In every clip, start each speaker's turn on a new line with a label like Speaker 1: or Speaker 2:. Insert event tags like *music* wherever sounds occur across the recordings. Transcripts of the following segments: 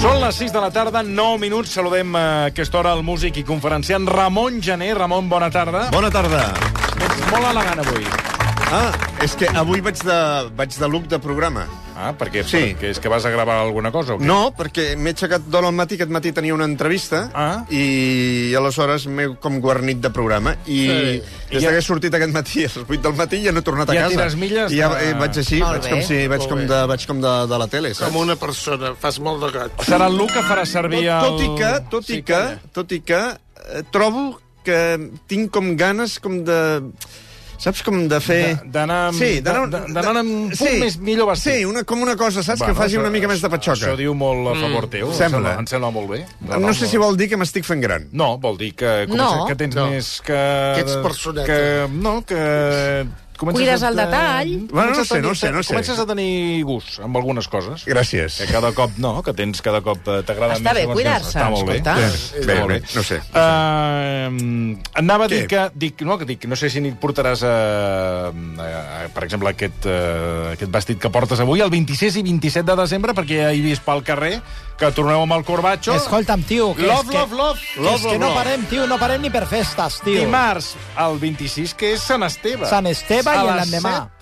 Speaker 1: Són les 6 de la tarda, 9 minuts. Saludem eh, a aquesta hora el músic i conferenciant Ramon Gené. Ramon, bona tarda.
Speaker 2: Bona tarda.
Speaker 1: Ets molt elegant avui.
Speaker 2: Ah, és que avui vaig de, vaig de look de programa.
Speaker 1: Ah, perquè, sí.
Speaker 2: Sí.
Speaker 1: perquè és que vas a gravar alguna cosa o què?
Speaker 2: No, perquè m'he aixecat d'hora al matí, aquest matí tenia una entrevista,
Speaker 1: Ah.
Speaker 2: i aleshores m'he com guarnit de programa. I sí.
Speaker 1: I
Speaker 2: des
Speaker 1: ja-
Speaker 2: que he sortit aquest matí, *laughs* a les 8 del matí, ja no he tornat a
Speaker 1: Ja
Speaker 2: casa.
Speaker 1: tires milles
Speaker 2: I ja
Speaker 1: de-
Speaker 2: eh, vaig així,
Speaker 3: Molt
Speaker 2: vaig
Speaker 3: bé,
Speaker 2: com, si, vaig
Speaker 3: molt
Speaker 2: com,
Speaker 3: bé.
Speaker 2: de, vaig com de, de la tele, saps?
Speaker 3: Com una persona, fas molt de got.
Speaker 1: Serà el look que farà servir
Speaker 2: Tot, tot i
Speaker 1: el...
Speaker 2: que, tot i
Speaker 1: Sí,
Speaker 2: que,
Speaker 1: calla.
Speaker 2: tot i que, eh, trobo que tinc com ganes com de... Saps com de fer...
Speaker 1: De- d'anar amb-
Speaker 2: sí, d'anar
Speaker 1: de- de- d'anar amb un punt més millor vestit.
Speaker 2: Sí, una, com una cosa, saps? Bueno,
Speaker 1: Bueno,
Speaker 2: que faci
Speaker 1: això-
Speaker 2: una mica més de patxoca. Mm.
Speaker 1: Això diu molt a favor teu. Em
Speaker 2: Sembla.
Speaker 1: Em sembla molt bé.
Speaker 2: No, no sé si vol dir que m'estic fent gran.
Speaker 1: No, vol dir que, comença,
Speaker 4: No.
Speaker 1: que tens
Speaker 3: No.
Speaker 1: més que...
Speaker 3: Que ets personeta.
Speaker 1: Que, no, que... Comences
Speaker 4: Cuides el
Speaker 1: a-
Speaker 4: detall.
Speaker 2: Bueno, no
Speaker 1: comences a
Speaker 2: sé, no
Speaker 1: tenir-
Speaker 2: sé, no sé.
Speaker 1: Comences a tenir gust amb algunes coses.
Speaker 2: Gràcies.
Speaker 1: Que cada cop no, que tens cada cop eh, t'agrada més.
Speaker 4: Està bé
Speaker 1: segons què.
Speaker 4: cuidar-se,
Speaker 1: Està molt bé.
Speaker 4: escolta.
Speaker 2: Bé,
Speaker 1: Està
Speaker 2: bé,
Speaker 1: molt
Speaker 2: bé, no sé.
Speaker 1: Eh, anava a dir
Speaker 2: Què?
Speaker 1: que, dic, no, que dic, no sé si n'hi portaràs, a, a, a, per exemple, aquest, eh, aquest vestit que portes avui, el 26 i 27 de desembre, perquè ja he vist pel carrer que torneu amb el corbatxo.
Speaker 5: Escolta'm, tio, que és
Speaker 1: Love,
Speaker 5: que,
Speaker 1: love, love.
Speaker 5: que és que no parem, tio, no parem ni per festes, tio.
Speaker 1: Dimarts, el 26, que és Sant Esteve.
Speaker 5: Sant Esteve
Speaker 1: A
Speaker 5: i
Speaker 1: les
Speaker 5: l'endemà.
Speaker 1: set,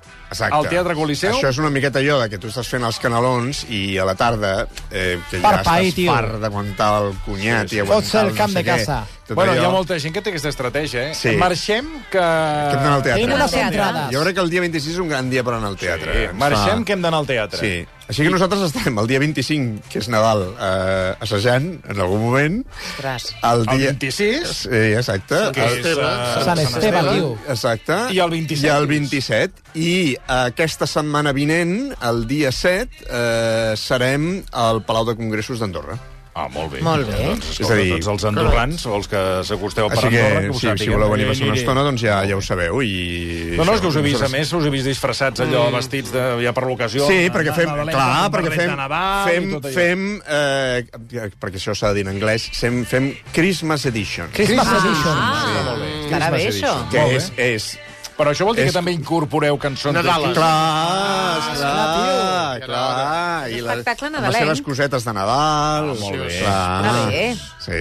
Speaker 1: Al Teatre Coliseu.
Speaker 2: Això és una miqueta allò de que tu estàs fent els canalons i a la tarda, eh, que ja
Speaker 5: Per pair,
Speaker 2: estàs
Speaker 5: tio.
Speaker 2: fart d'aguantar el cunyat
Speaker 1: Sí, sí.
Speaker 2: i aguantar
Speaker 5: Fots el
Speaker 2: no
Speaker 5: camp
Speaker 2: sé
Speaker 5: de
Speaker 2: què.
Speaker 5: casa.
Speaker 2: Tot
Speaker 1: bueno,
Speaker 2: allò.
Speaker 1: hi ha molta gent que té aquesta estratègia, eh?
Speaker 2: Sí.
Speaker 1: Marxem, que...
Speaker 2: Que hem d'anar al teatre.
Speaker 5: Tenim unes
Speaker 4: Teatre.
Speaker 5: entrades.
Speaker 2: Jo crec que el dia 26 és un gran dia per anar al teatre.
Speaker 1: Sí,
Speaker 2: Ens
Speaker 1: marxem,
Speaker 2: fa-
Speaker 1: que hem d'anar al teatre.
Speaker 2: Sí. Així que nosaltres estarem el dia 25, que és Nadal, eh, assajant, en algun moment.
Speaker 4: Ostres.
Speaker 2: El,
Speaker 1: El
Speaker 2: dia...
Speaker 1: 26,
Speaker 2: Sí, exacte.
Speaker 1: que
Speaker 2: El-
Speaker 1: és... eh,
Speaker 5: Sant Esteve, tio.
Speaker 2: Exacte.
Speaker 1: I el 27.
Speaker 2: I el 27. I aquesta setmana vinent, el dia 7, eh, serem al Palau de Congressos d'Andorra.
Speaker 1: Ah, molt bé.
Speaker 4: Molt bé.
Speaker 1: Doncs,
Speaker 2: És a
Speaker 1: escolta,
Speaker 2: dir,
Speaker 1: tots els andorrans, o els que s'acosteu per
Speaker 2: Així que,
Speaker 1: Andorra, que ho
Speaker 2: si, si
Speaker 1: sàpiguen. eh,
Speaker 2: voleu venir a passar una
Speaker 1: Aniré.
Speaker 2: estona, doncs ja, ja ho sabeu. I...
Speaker 1: No, no, és que us he vist, a
Speaker 2: Aleshores-
Speaker 1: més, us he vist disfressats allò, vestits de, ja per l'ocasió.
Speaker 2: Sí, perquè fem...
Speaker 1: Nadaleta,
Speaker 2: Clar,
Speaker 1: amb
Speaker 2: perquè
Speaker 1: barret
Speaker 2: fem...
Speaker 1: de Nadal i
Speaker 2: Fem,
Speaker 1: tot allò.
Speaker 2: fem eh, perquè això s'ha de dir en anglès, fem, fem Christmas Edition.
Speaker 5: Christmas Edition.
Speaker 4: Ah, estarà bé, això.
Speaker 2: Que
Speaker 1: Molt bé.
Speaker 2: és... és
Speaker 1: Però això vol dir que
Speaker 2: És-
Speaker 1: també incorporeu cançons... Clar.
Speaker 3: Nadales.
Speaker 2: Clar,
Speaker 3: esclar,
Speaker 2: esclar,
Speaker 3: tio.
Speaker 2: clar. I la-
Speaker 4: Espectacle
Speaker 2: Amb les
Speaker 4: nadalenc.
Speaker 2: seves cosetes de Nadal.
Speaker 1: Ah, molt bé.
Speaker 4: Està
Speaker 2: Clar.
Speaker 4: bé. eh?
Speaker 2: Sí.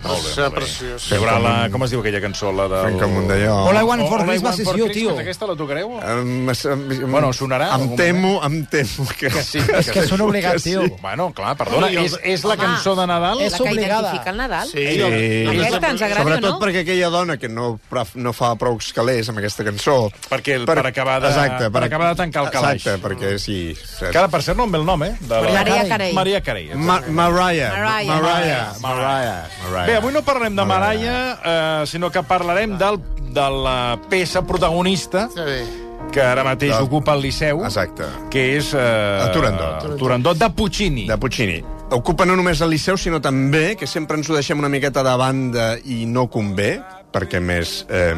Speaker 3: Molt bé, molt bé. Preciós.
Speaker 1: Hi haurà la... Com es diu aquella cançó? La del...
Speaker 2: Fem com un d'allò.
Speaker 5: All I want
Speaker 1: All
Speaker 5: for
Speaker 1: I
Speaker 5: Christmas
Speaker 1: Want
Speaker 5: is
Speaker 1: for
Speaker 5: you,
Speaker 1: Christmas,
Speaker 5: tio.
Speaker 1: Aquesta la tocareu?
Speaker 2: Em, es- em, em-
Speaker 1: Bueno, sonarà en
Speaker 2: Em
Speaker 1: algun
Speaker 2: temo, em temo que...
Speaker 1: Que
Speaker 2: *laughs*
Speaker 1: sí, que
Speaker 5: És que són obligats,
Speaker 2: sí.
Speaker 5: tio.
Speaker 1: Ah. Bueno, clar, perdona,
Speaker 3: Home, i el-
Speaker 1: és, és la cançó de Nadal?
Speaker 5: És
Speaker 4: La que
Speaker 5: obligada.
Speaker 4: identifica el Nadal.
Speaker 3: Sí.
Speaker 2: Sí.
Speaker 4: Aquesta ens agrada o
Speaker 2: Sobretot
Speaker 4: no?
Speaker 2: perquè aquella dona que no, praf- no fa prou calés amb aquesta cançó...
Speaker 1: Perquè el- per acabar de- per acabar de tancar el calaix.
Speaker 2: Exacte, perquè sí...
Speaker 1: Que ara, per cert, no em ve el nom, eh? De
Speaker 4: Maria Carey.
Speaker 1: Maria Carey.
Speaker 2: Ma Mariah.
Speaker 4: Mariah.
Speaker 2: Mariah. Mariah. Mariah.
Speaker 1: Bé, avui no parlem de Maralla, eh, sinó que parlarem del, de la peça protagonista
Speaker 3: Està bé.
Speaker 1: que ara mateix
Speaker 2: Del-
Speaker 1: ocupa el Liceu,
Speaker 2: Exacte.
Speaker 1: que és... Eh,
Speaker 2: El Turandot.
Speaker 1: el Turandot de Puccini.
Speaker 2: De Puccini. Ocupa no només el Liceu, sinó també, que sempre ens ho deixem una miqueta de banda i no convé, perquè a més eh,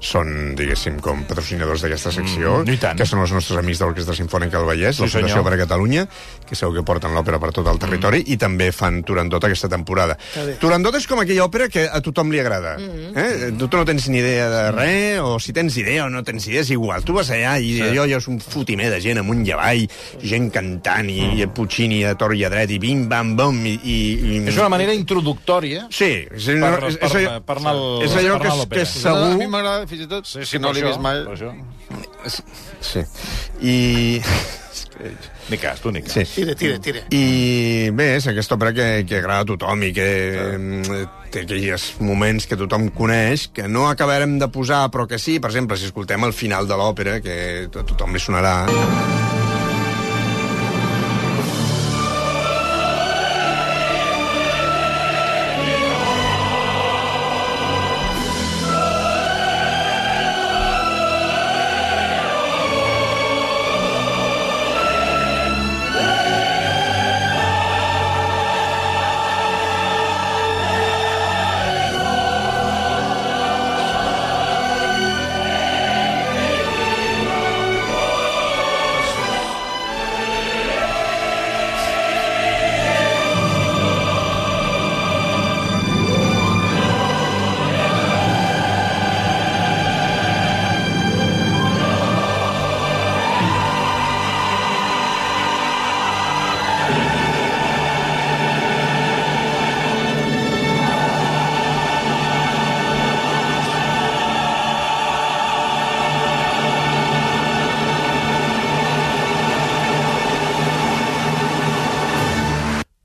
Speaker 2: són, diguéssim, com patrocinadors d'aquesta secció,
Speaker 1: Mm, i tant.
Speaker 2: que són els nostres amics de l'Orquestra Simfònica del Vallès,
Speaker 1: Sí,
Speaker 2: la Fundació
Speaker 1: senyor.
Speaker 2: per a Catalunya, que sabeu que porten l'òpera per tot el territori,
Speaker 1: Mm.
Speaker 2: i també fan Turandot aquesta temporada. Turandot és com aquella òpera que a tothom li agrada.
Speaker 1: Mm.
Speaker 2: eh? Tu no tens ni idea de res, o si tens idea o no tens idea, és igual. Tu vas allà i allò ja és un fotimer de gent amunt i avall, gent cantant, i,
Speaker 1: Mm.
Speaker 2: i el Puccini a tor i a dret, i bim, bam, bom, i... i, i...
Speaker 1: És una manera introductòria
Speaker 2: Sí, és,
Speaker 1: Per-
Speaker 2: és,
Speaker 1: per-
Speaker 2: és, allò-
Speaker 1: per anar al-
Speaker 2: és
Speaker 1: per
Speaker 2: allò que,
Speaker 1: anar a
Speaker 2: és-
Speaker 1: l'òpera.
Speaker 2: que és segur...
Speaker 3: A mi m'agrada, fins i tot, sí, sí, no l'he vist mai.
Speaker 1: Per això.
Speaker 2: Sí. I... *laughs* és que-
Speaker 1: Ni cas, tu ni cas.
Speaker 2: Sí.
Speaker 3: Tira, Eh, tira, tira.
Speaker 2: I bé, és aquesta òpera que, que agrada a tothom i que eh, té aquells moments que tothom coneix, que no acabarem de posar, però que sí, per exemple, si escoltem el final de l'òpera, que a tothom li sonarà...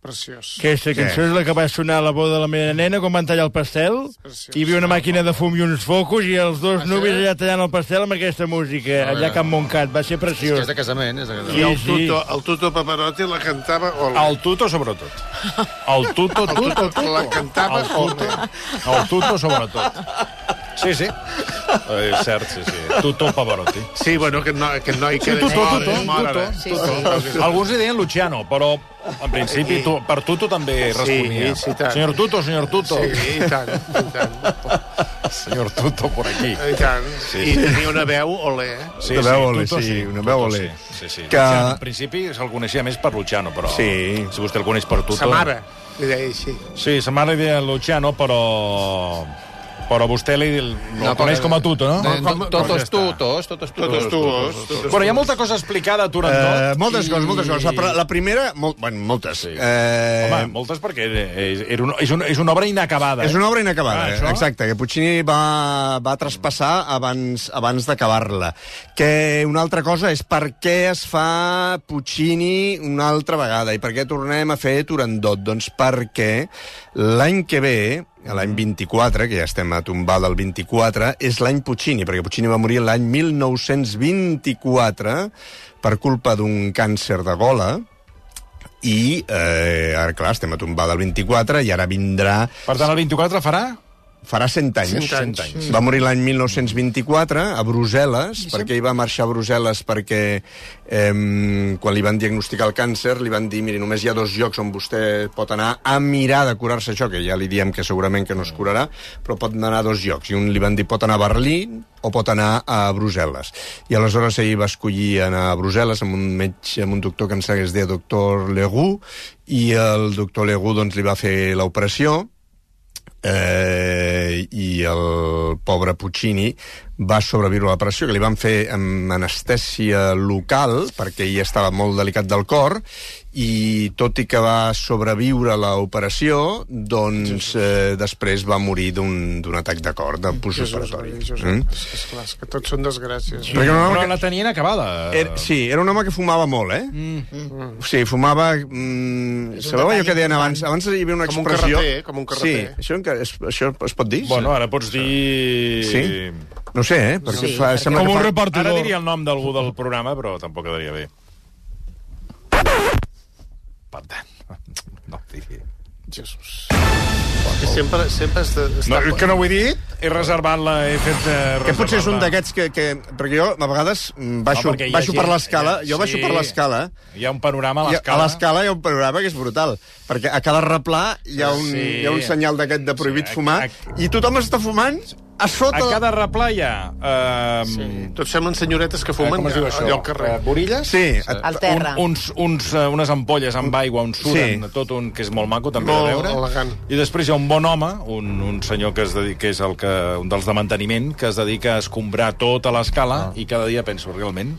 Speaker 3: Preciós.
Speaker 6: Aquesta cançó és la que va sonar a la boda de la meva nena quan van tallar el pastel.
Speaker 3: preciós.
Speaker 6: Hi havia una màquina de fum i uns focus i els dos
Speaker 7: Ah, sí?
Speaker 6: nuvis allà tallant el pastel amb aquesta música,
Speaker 7: veure.
Speaker 6: allà a Can Montcat. Va ser
Speaker 7: És que és
Speaker 6: preciós.
Speaker 7: de casament, és de
Speaker 3: I
Speaker 7: casament.
Speaker 3: el
Speaker 6: sí.
Speaker 3: Tuto, el Tuto Paparotti la cantava... O la,
Speaker 1: El tuto, sobretot. El tuto, tuto, tuto.
Speaker 3: la cantava...
Speaker 1: El
Speaker 3: o
Speaker 1: tuto, el tuto sobretot. Sí, sí. Eh, És cert, sí, sí. Tuto Pavarotti.
Speaker 3: Sí, bueno, aquest noi, aquest noi que...
Speaker 1: Tuto,
Speaker 3: mor,
Speaker 1: tuto,
Speaker 3: és mort,
Speaker 1: tuto,
Speaker 3: eh?
Speaker 4: Sí,
Speaker 1: tuto.
Speaker 4: sí.
Speaker 1: Alguns li deien Luciano, però en principi tu, per Tuto també
Speaker 3: Sí,
Speaker 1: responia.
Speaker 3: sí, tant.
Speaker 1: Senyor Tuto, senyor Tuto.
Speaker 3: Sí, i tant, i tant.
Speaker 1: Senyor Tuto, por aquí.
Speaker 3: I tant.
Speaker 1: Sí.
Speaker 3: I tenia una veu, olé. eh?
Speaker 2: Una veu olé,
Speaker 1: Tuto
Speaker 2: sí, una
Speaker 1: Tuto
Speaker 2: veu olé.
Speaker 1: Sí, sí. sí.
Speaker 2: Que-
Speaker 1: Luciano, en principi se'l coneixia més per Luciano, però
Speaker 2: Sí.
Speaker 1: si vostè el coneix per Tuto...
Speaker 3: Sa mare, li deia així.
Speaker 1: Sí, sa mare li deia Luciano, però... Però vostè li, el coneix com a Tuto, no?
Speaker 2: Eh,
Speaker 3: Com-
Speaker 7: De- to-
Speaker 3: com ja
Speaker 7: Totos
Speaker 3: està.
Speaker 7: tutos, totos
Speaker 3: Totes
Speaker 7: tutos.
Speaker 3: dues. totes
Speaker 1: Bueno, hi ha molta cosa explicada a Turandot.
Speaker 2: Eh, moltes coses, moltes coses. La, pr- la primera... Molt, bueno, moltes.
Speaker 1: Sí.
Speaker 2: Eh,
Speaker 1: Home, moltes perquè és, era una, és, una, és una obra inacabada.
Speaker 2: És una obra
Speaker 1: Ah,
Speaker 2: inacabada,
Speaker 1: això?
Speaker 2: ah, exacte, que Puccini va, va traspassar abans, abans d'acabar-la. Que una altra cosa és per què es fa Puccini una altra vegada i per què tornem a fer Turandot? Doncs perquè l'any que ve, a l'any 24, que ja estem a tombar del 24, és l'any Puccini, perquè Puccini va morir l'any 1924 per culpa d'un càncer de gola, i eh, ara, clar, estem a tombar del 24 i ara vindrà
Speaker 1: Per tant, el 24 farà?
Speaker 2: farà 100 anys. Mm.
Speaker 3: 100 anys. 100
Speaker 2: Va morir l'any 1924 a Brussel·les, perquè ell va marxar a Brussel·les perquè eh, quan li van diagnosticar el càncer li van dir, miri, només hi ha dos llocs on vostè pot anar a mirar de curar-se això, que ja li diem que segurament que no es curarà, però pot anar a dos llocs. I un li van dir pot anar a Berlín o pot anar a Brussel·les. I aleshores ell va escollir anar a Brussel·les amb un metge, amb un doctor que em segueix de doctor Legou, i el doctor Legou doncs, li va fer l'operació, eh, i el pobre Puccini va sobreviure a la pressió, que li van fer amb anestèsia local, perquè ell estava molt delicat del cor, i tot i que va sobreviure a l'operació, doncs eh, després va morir d'un d'un atac de cor, de
Speaker 3: Jesús,
Speaker 2: postoperatori.
Speaker 3: Maria, Jesús.
Speaker 2: Mm?
Speaker 3: És, és clar, és que tots són desgràcies.
Speaker 2: Perquè era un home
Speaker 1: Però
Speaker 2: que- Eh,
Speaker 1: la tenia inacabada.
Speaker 2: Era, sí, era un home que fumava molt, eh? Mm. O sigui, fumava... Mm, sabeu allò que deien abans? Abans hi havia una
Speaker 3: Com un
Speaker 2: expressió...
Speaker 3: carreter, com un carreter.
Speaker 2: Sí, això, encara- es, això es pot dir?
Speaker 1: Bueno, ara pots dir...
Speaker 2: Sí? No ho sé, eh? Perquè
Speaker 4: Sí,
Speaker 2: fa,
Speaker 4: perquè-
Speaker 2: sembla
Speaker 6: Com
Speaker 2: que
Speaker 6: un
Speaker 2: fa...
Speaker 6: repartidor.
Speaker 1: Ara diria el nom d'algú del programa, però tampoc quedaria bé. Per tant, no diria...
Speaker 3: Jesús. Que sempre, sempre has de...
Speaker 1: No,
Speaker 3: estar-
Speaker 1: el que no ho he dit, he reservat la... He fet, eh,
Speaker 2: Que potser és un
Speaker 1: reservar-la.
Speaker 2: d'aquests que, que... Perquè jo, a vegades, mm, baixo,
Speaker 1: perquè hi ha
Speaker 2: baixo per
Speaker 1: gent-
Speaker 2: l'escala.
Speaker 1: hi ha-
Speaker 2: Jo baixo
Speaker 1: sí.
Speaker 2: per l'escala.
Speaker 1: Hi ha un panorama a
Speaker 2: i A
Speaker 1: l'escala.
Speaker 2: l'escala hi ha un programa que és brutal, perquè a cada replà hi ha un,
Speaker 1: Sí.
Speaker 2: hi ha un senyal d'aquest de prohibit
Speaker 1: Sí, a-
Speaker 2: fumar,
Speaker 1: a-
Speaker 2: i tothom està fumant a
Speaker 1: A
Speaker 2: sota...
Speaker 1: cada replà hi ha... Eh, sí.
Speaker 2: Mm.
Speaker 3: Tots semblen senyoretes que
Speaker 1: eh,
Speaker 2: Ah,
Speaker 3: fumen
Speaker 1: com es diu això?
Speaker 3: allò al carrer.
Speaker 1: Eh, Borilles?
Speaker 2: Sí, a-
Speaker 4: Al terra.
Speaker 1: Un, uns, uns, eh, unes ampolles amb aigua on suren,
Speaker 2: Sí.
Speaker 1: sí. tot un que és molt maco també
Speaker 3: Molt
Speaker 1: de veure.
Speaker 3: elegant.
Speaker 1: I després hi ha un bon home, un, un senyor que, es dedica, que és el que, un dels de manteniment, que es dedica a escombrar tota l'escala ah. i cada dia penso, realment,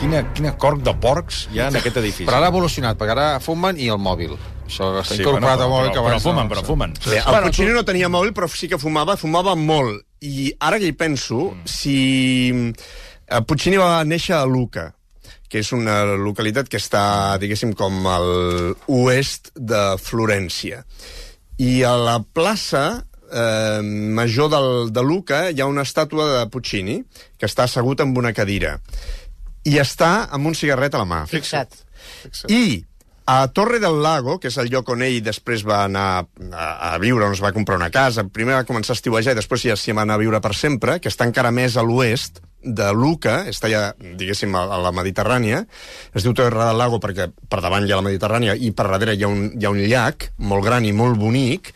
Speaker 1: quina, quina corc de porcs hi ha en aquest edifici.
Speaker 7: Però ara ha evolucionat, perquè ara fumen i el mòbil. Això està incorporat al
Speaker 1: però,
Speaker 7: mòbil que
Speaker 1: però, però
Speaker 7: abans...
Speaker 1: fumen,
Speaker 7: no.
Speaker 1: però fumen.
Speaker 2: Bé, el bueno, Puccini no tenia mòbil, però sí que fumava, fumava molt. I ara que hi penso, si... eh, Puccini va néixer a Luca, que és una localitat que està, diguéssim, com al oest de Florència. I a la plaça eh, major del, de Luca hi ha una estàtua de Puccini que està assegut amb una cadira i està amb un cigarret a la mà.
Speaker 4: Fixa't.
Speaker 2: I a Torre del Lago, que és el lloc on ell després va anar a, a viure, on es va comprar una casa, primer va començar a estiuejar i després ja s'hi va anar a viure per sempre, que està encara més a l'oest de Luca, està ja, diguéssim, a, a la Mediterrània. Es diu Torre del Lago perquè per davant hi ha la Mediterrània i per darrere hi ha un, hi ha un llac molt gran i molt bonic,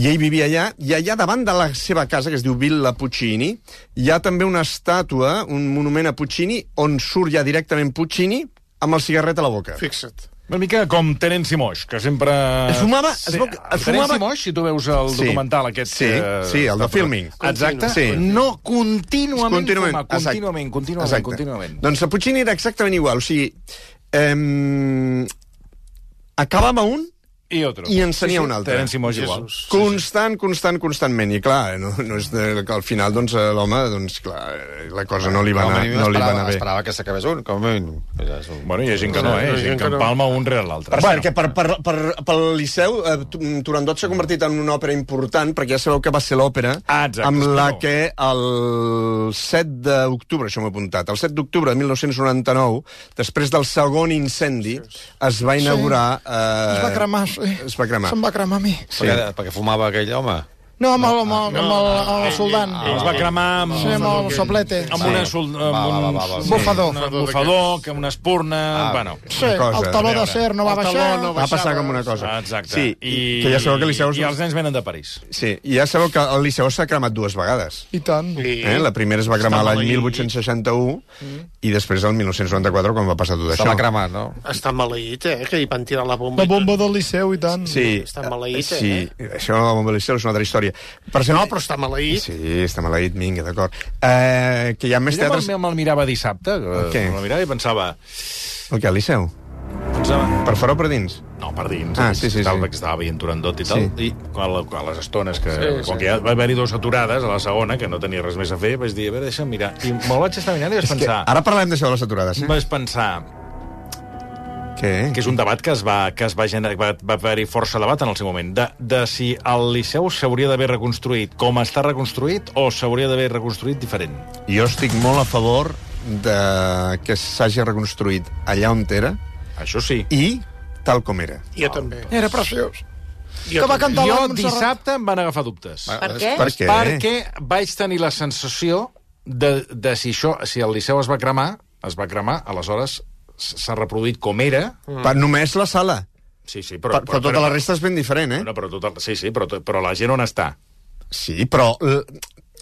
Speaker 2: i ell vivia allà, i allà davant de la seva casa, que es diu Villa Puccini, hi ha també una estàtua, un monument a Puccini, on surt ja directament Puccini amb el cigarret a la boca.
Speaker 3: Fixa't.
Speaker 1: Una mica com Terence Moix, que sempre...
Speaker 2: Es fumava- es veu que- es fumava-
Speaker 1: Terence Moix, si tu veus el
Speaker 2: Sí.
Speaker 1: documental aquest... eh,
Speaker 2: Sí, sí, el de Filming.
Speaker 1: Exacte.
Speaker 2: Sí.
Speaker 1: No contínuament,
Speaker 2: Contínuament,
Speaker 1: fumar,
Speaker 2: exacte.
Speaker 1: contínuament, contínuament,
Speaker 2: Exacte.
Speaker 1: contínuament.
Speaker 2: Doncs a Puccini era exactament igual. O sigui, eh, acabava un
Speaker 1: I otro.
Speaker 2: I ensenia sí, sí, un altre.
Speaker 1: Terence Moix igual.
Speaker 2: Sí, Constant, constant, constantment. I clar, no, no és de, que al final doncs, eh, l'home, doncs, clar, eh, la cosa no li va anar, no li va
Speaker 7: esperava,
Speaker 2: anar bé.
Speaker 7: esperava que s'acabés un, com a mínim. És un...
Speaker 1: Bueno, hi ha gent que no, eh? Hi ha gent que en palma un rere l'altre.
Speaker 2: Per, bueno, que per, per, per, pel Liceu, eh, Tu- mm, Turandot s'ha convertit en una òpera important, perquè ja sabeu que va ser l'òpera
Speaker 1: Ah, exacte,
Speaker 2: amb la
Speaker 1: espero.
Speaker 2: que el 7 d'octubre, això m'ho he apuntat, el 7 d'octubre de 1999, després del segon incendi, es va inaugurar... Eh,
Speaker 6: Es va cremar, sí.
Speaker 2: Es va cremar.
Speaker 6: Se'm va cremar a mi.
Speaker 7: Sí. Perquè, perquè fumava aquell home.
Speaker 6: No, amb el, amb el, amb el, amb el soldant.
Speaker 1: Es va cremar amb...
Speaker 6: Sí, amb el soplete.
Speaker 1: amb,
Speaker 7: Sí.
Speaker 1: una sol,
Speaker 7: Va,
Speaker 1: amb
Speaker 7: va, va,
Speaker 1: un
Speaker 7: va, va.
Speaker 6: Bufador.
Speaker 1: un bufador, que una espurna... Ah, bueno,
Speaker 6: Sí,
Speaker 2: cosa,
Speaker 6: el taló
Speaker 1: a veure.
Speaker 6: d'acer no va
Speaker 3: El taló
Speaker 6: baixar.
Speaker 3: no
Speaker 2: Va passar com una cosa.
Speaker 1: Ah, exacte.
Speaker 2: Sí,
Speaker 1: I,
Speaker 2: que ja sabeu que Liceu...
Speaker 1: I els nens venen de París.
Speaker 2: Sí, i ja sabeu que el Liceu s'ha cremat dues vegades.
Speaker 6: I tant.
Speaker 2: Eh? La primera es va cremar l'any
Speaker 3: maleït.
Speaker 2: 1861
Speaker 6: Mm.
Speaker 2: i després el 1994, quan va passar tot això.
Speaker 7: Se l'ha cremat, no?
Speaker 3: Està maleït, eh, que hi van tirar la bomba.
Speaker 6: La bomba del Liceu, i tant.
Speaker 2: Sí,
Speaker 3: Està maleït,
Speaker 2: sí. eh? Això de la bomba de Liceu és una altra història. Per
Speaker 3: No,
Speaker 2: cert,
Speaker 3: però està maleït.
Speaker 2: Sí, està maleït, vinga, d'acord. Eh, que hi ha més
Speaker 1: Jo
Speaker 2: teatres...
Speaker 1: me'l me'l mirava dissabte, eh,
Speaker 2: Què?
Speaker 1: me'l mirava i pensava...
Speaker 2: El que, el Liceu?
Speaker 1: pensava
Speaker 2: Per fora o per dins?
Speaker 1: no, per dins, eh,
Speaker 2: Ah, sí, sí,
Speaker 1: tal,
Speaker 2: sí.
Speaker 1: que estava veient Turandot i tal, i a, la, a les estones que... Sí, com que ja va haver-hi dues aturades, a la segona, que no tenia res més a fer, vaig dir, a veure, deixa'm mirar. I me'l vaig estar mirant i vaig
Speaker 2: Que
Speaker 1: pensar...
Speaker 2: ara parlem d'això de les aturades, eh?
Speaker 1: Vaig pensar
Speaker 2: Què?
Speaker 1: que és un debat que es va, que es va generar, va, va haver-hi força debat en el seu moment, de, de si el Liceu s'hauria d'haver reconstruït com està reconstruït o s'hauria d'haver reconstruït diferent.
Speaker 2: Jo estic molt a favor de que s'hagi reconstruït allà on era
Speaker 1: Això sí.
Speaker 2: i tal com era.
Speaker 3: Jo també.
Speaker 6: Era preciós.
Speaker 3: Jo
Speaker 6: Que va
Speaker 3: també.
Speaker 6: cantar la
Speaker 1: Jo
Speaker 6: Montserrat.
Speaker 1: dissabte em van agafar dubtes.
Speaker 4: Per què?
Speaker 2: Eh? Per què?
Speaker 1: Perquè vaig tenir la sensació de, de si això, si el Liceu es va cremar, es va cremar, aleshores s- s'ha reproduït com era.
Speaker 2: Per només la sala.
Speaker 1: Sí, sí,
Speaker 2: Però,
Speaker 1: però...
Speaker 2: però, tota la resta és ben diferent, eh?
Speaker 1: No, però tota, sí, sí, però, to- però la gent on està?
Speaker 2: Sí, però l-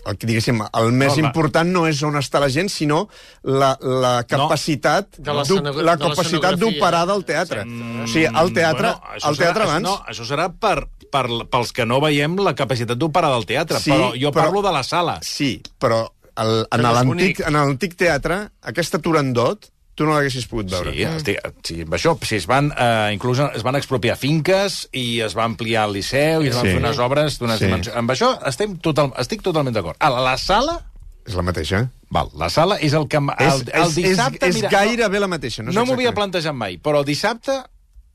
Speaker 2: el que diguéssim, el més
Speaker 1: Home.
Speaker 2: important no és on està la gent, sinó la, la capacitat
Speaker 3: De la
Speaker 2: d'o- la
Speaker 3: escenogra- de la
Speaker 2: capacitat
Speaker 3: escenografia.
Speaker 2: d'operar del teatre. O sigui, el teatre,
Speaker 1: Mm, això
Speaker 2: el teatre
Speaker 1: serà,
Speaker 2: abans...
Speaker 1: No, això serà per, per, pels que no veiem la capacitat d'operar del teatre, sí,
Speaker 2: Sí,
Speaker 1: però jo
Speaker 2: però-
Speaker 1: però... parlo de la sala.
Speaker 2: Sí, però el, en
Speaker 3: Però és
Speaker 2: l'antic
Speaker 3: bonic.
Speaker 2: en l'antic teatre, aquesta Turandot, tu no l'haguessis pogut veure.
Speaker 1: Sí, estic, sí, amb això, sí, es van, eh, inclús es van expropiar finques i es va ampliar el Liceu i es van
Speaker 2: Sí.
Speaker 1: fer unes obres d'unes
Speaker 2: Sí.
Speaker 1: sí. dimensions. Amb això estem total, estic totalment d'acord. Ara, la sala...
Speaker 2: És la mateixa.
Speaker 1: Val, la sala és el que... em- El,
Speaker 2: és,
Speaker 1: el
Speaker 2: és,
Speaker 1: dissabte,
Speaker 2: és, és
Speaker 1: mira,
Speaker 2: gairebé la mateixa. No,
Speaker 1: No,
Speaker 2: és
Speaker 1: no m'ho havia
Speaker 2: exactament.
Speaker 1: plantejat mai, però el dissabte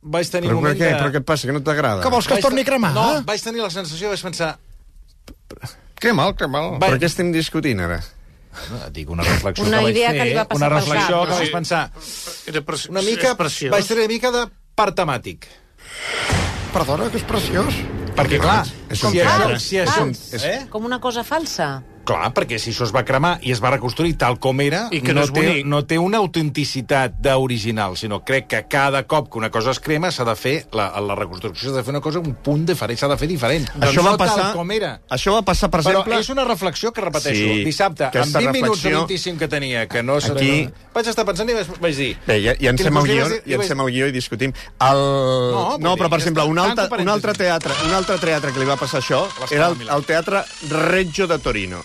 Speaker 1: vaig tenir
Speaker 2: Però,
Speaker 1: un
Speaker 2: per
Speaker 1: moment
Speaker 2: què?
Speaker 1: de...
Speaker 2: però què et passa, que no t'agrada?
Speaker 6: Que vols que
Speaker 1: Vaig-
Speaker 6: es torni a cremar?
Speaker 1: No,
Speaker 6: eh?
Speaker 1: vaig tenir la sensació, vaig pensar...
Speaker 7: Crema'l, crema'l.
Speaker 1: Vaig,
Speaker 2: Per què estem discutint, ara?
Speaker 1: No, dic una reflexió
Speaker 4: Una
Speaker 1: que vaig
Speaker 4: idea
Speaker 1: fer,
Speaker 4: que li va passar
Speaker 1: una
Speaker 4: pel
Speaker 1: reflexió
Speaker 4: cap.
Speaker 1: que
Speaker 3: Sí.
Speaker 1: vaig pensar...
Speaker 3: Era preci...
Speaker 1: Una mica,
Speaker 3: És preciós.
Speaker 1: vaig tenir una mica de part temàtic.
Speaker 6: Perdona, que és preciós.
Speaker 1: Perquè, clar,
Speaker 2: és un
Speaker 1: si això...
Speaker 2: teatre.
Speaker 1: Si això
Speaker 4: Fals.
Speaker 1: eh?
Speaker 4: Com una cosa falsa.
Speaker 1: Clar, perquè si això es va cremar i es va reconstruir tal com era,
Speaker 3: I que no és
Speaker 1: té,
Speaker 3: bonic.
Speaker 1: no té una autenticitat d'original, sinó crec que cada cop que una cosa es crema s'ha de fer, la, la reconstrucció s'ha de fer una cosa, un punt diferent, s'ha de fer diferent.
Speaker 2: això
Speaker 1: Doncs no
Speaker 2: va passar,
Speaker 1: tal com era.
Speaker 2: Això va passar, per
Speaker 1: Però
Speaker 2: exemple...
Speaker 1: és una reflexió que repeteixo.
Speaker 2: Sí,
Speaker 1: Sí, Dissabte, amb
Speaker 2: aquesta
Speaker 1: 20 minuts o
Speaker 2: reflexió-
Speaker 1: 25 que tenia, que no... serà-
Speaker 2: Aquí-
Speaker 1: Vaig estar pensant i vaig, vaig dir...
Speaker 2: Bé, Eh, ja, ja
Speaker 1: Quines
Speaker 2: encem el
Speaker 1: coses
Speaker 2: guió,
Speaker 1: li vas dir?
Speaker 2: ja encem el guió i discutim. El... No,
Speaker 1: vull
Speaker 2: no,
Speaker 1: dir,
Speaker 2: però,
Speaker 1: ja
Speaker 2: per exemple,
Speaker 1: està.
Speaker 2: un altre,
Speaker 1: Tanco parèntesis.
Speaker 2: un altre teatre un altre teatre que li va passar això
Speaker 1: L'Escola
Speaker 2: era el,
Speaker 1: de Milà.
Speaker 2: el teatre Reggio de Torino.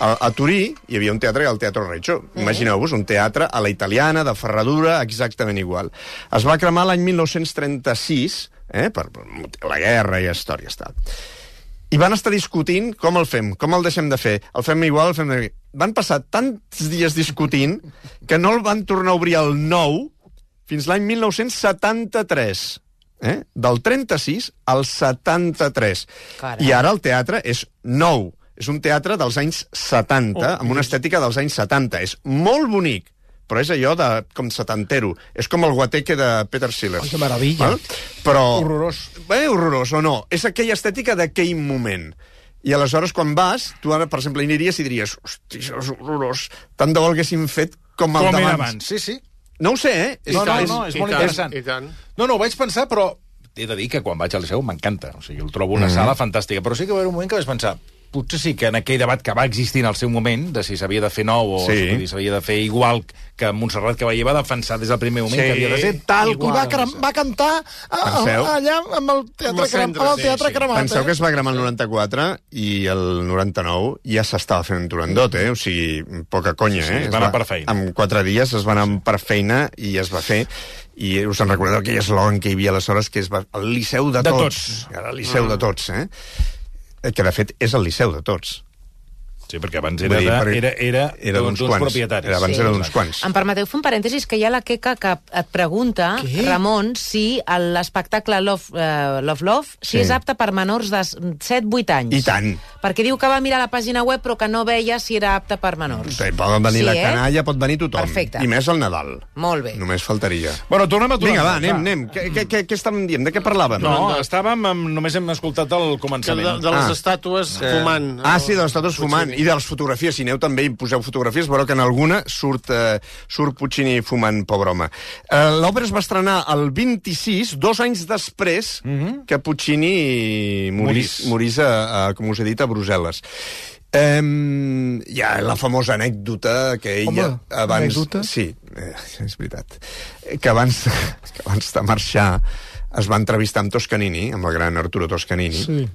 Speaker 2: A, a Turí hi havia un teatre, el Teatro Reggio.
Speaker 1: Eh?
Speaker 2: Imagineu-vos, un teatre a la italiana, de ferradura, exactament igual. Es va cremar l'any 1936, eh, per, per la guerra i històries, tal. I van estar discutint com el fem, com el deixem de fer. El fem igual, el fem... de- Van passar tants dies discutint que no el van tornar a obrir el 9 fins l'any 1973. Eh? Del 36 al 73.
Speaker 4: Caram.
Speaker 2: I ara el teatre és nou. És un teatre dels anys 70, amb una estètica dels anys 70. És molt bonic, però és allò de com setantero. És com el guateque de Peter Siller.
Speaker 5: que meravella.
Speaker 2: Val? Però... Horrorós. Bé, horrorós o no. És aquella estètica d'aquell moment. I aleshores, quan vas, tu ara, per exemple, hi aniries i diries hosti, això és horrorós, tant de bo haguéssim fet com el
Speaker 1: Com era
Speaker 2: d'abans.
Speaker 1: abans, sí, sí.
Speaker 2: No ho sé, eh? És
Speaker 1: No,
Speaker 2: que
Speaker 1: no,
Speaker 2: és-
Speaker 1: no, és
Speaker 3: I
Speaker 1: molt
Speaker 3: tant,
Speaker 1: interessant.
Speaker 3: i tant.
Speaker 1: No, no, ho vaig pensar,
Speaker 2: Mhm.
Speaker 1: però he de dir que quan vaig al Liceu m'encanta. O sigui, el trobo una sala fantàstica. Però sí que va haver un moment que vaig pensar potser sí que en aquell debat que va existir en el seu moment, de si s'havia de fer nou o
Speaker 2: Sí.
Speaker 1: sí. si s'havia de fer igual que Montserrat Cavaller va defensar des del primer moment
Speaker 2: Sí.
Speaker 1: que havia de ser tal
Speaker 5: I va, cram, va cantar a, a,
Speaker 2: Penseu?
Speaker 5: allà amb el teatre,
Speaker 3: Amb la
Speaker 5: cram,
Speaker 3: cendra,
Speaker 5: amb el
Speaker 3: sí,
Speaker 5: teatre
Speaker 3: sí.
Speaker 5: cremat.
Speaker 2: Penseu
Speaker 5: eh?
Speaker 2: que es va cremar el 94 i el 99 ja s'estava fent un turandot, eh? O sigui, poca conya,
Speaker 1: Sí,
Speaker 2: eh?
Speaker 1: es va anar per feina.
Speaker 2: En quatre dies es va anar per feina i es va fer. I us en recordeu aquell eslògan que hi havia aleshores, que és el Liceu de,
Speaker 1: De
Speaker 2: tots.
Speaker 1: tots. Ah.
Speaker 2: Era el Liceu de tots, eh? Que, de fet, és el Liceu de tots.
Speaker 1: Sí, perquè abans
Speaker 2: Vull
Speaker 1: era,
Speaker 2: dir,
Speaker 1: de,
Speaker 2: perquè
Speaker 1: era, era,
Speaker 2: era d'uns
Speaker 1: d'uns
Speaker 2: quants.
Speaker 1: propietaris.
Speaker 2: Era abans
Speaker 1: sí.
Speaker 2: era d'uns quants.
Speaker 4: Em permeteu fer un parèntesis, que hi ha la Queca que et pregunta,
Speaker 5: Què?
Speaker 4: Ramon, si l'espectacle Love, eh, Love Love si
Speaker 2: Sí.
Speaker 4: és apte per menors de 7-8 anys.
Speaker 2: I tant.
Speaker 4: Perquè diu que va mirar la pàgina web però que no veia si era apte per menors.
Speaker 2: Sí, Doncs Poden venir sí,
Speaker 4: Sí,
Speaker 2: la
Speaker 4: eh?
Speaker 2: canalla, pot venir tothom.
Speaker 4: Perfecte.
Speaker 2: I més al Nadal.
Speaker 4: Molt bé.
Speaker 2: Només faltaria.
Speaker 1: Bueno, tornem a
Speaker 2: Vinga,
Speaker 1: Turandot,
Speaker 2: va, anem, anem. Què, què, què, què estàvem dient? De què parlàvem?
Speaker 1: No, estàvem amb, només hem escoltat el
Speaker 3: Que
Speaker 1: començament.
Speaker 3: de, de les
Speaker 2: Ah.
Speaker 3: estàtues fumant. eh,
Speaker 2: Ah, sí, de les estàtues fumant i de les fotografies. Si aneu també i poseu fotografies, veureu que en alguna surt, eh, surt Puccini fumant, pobre home. Eh, L'òpera es va estrenar el 26, dos anys després que Puccini morís,
Speaker 1: Mhm. Morís.
Speaker 2: morís a, a, com us he dit, a Brussel·les. Um, hi ha la famosa anècdota que ella
Speaker 5: Home,
Speaker 2: abans...
Speaker 5: anècdota?
Speaker 2: Sí, eh, és veritat. Eh, Que abans, que abans de marxar es va entrevistar amb Toscanini, amb el gran Arturo Toscanini,
Speaker 5: Sí.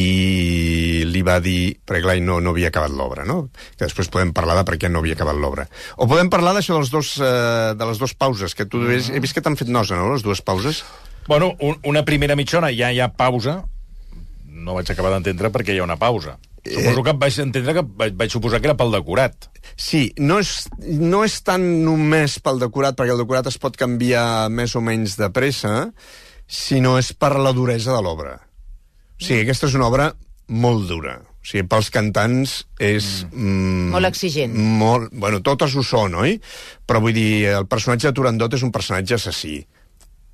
Speaker 2: i li va dir, perquè clar, no, no havia acabat l'obra, no? Que després podem parlar de per què no havia acabat l'obra. O podem parlar d'això dels dos, eh, de les dues pauses, que
Speaker 5: Ah.
Speaker 2: tu mm. he vist que t'han fet nosa, no?, les dues pauses.
Speaker 1: Bueno, un, una primera mitjona, ja hi ha pausa. No vaig acabar d'entendre perquè hi ha una pausa. Suposo que vaig entendre que vaig, vaig suposar que era pel decorat.
Speaker 2: Sí, no és, no és tant només pel decorat, perquè el decorat es pot canviar més o menys de pressa, sinó és per la duresa de l'obra. O sigui, aquesta és una obra molt dura. O sigui, pels cantants és... Mm.
Speaker 4: Molt exigent.
Speaker 2: Molt, bueno, totes ho són, oi? Però vull dir, el personatge de Turandot és un personatge assassí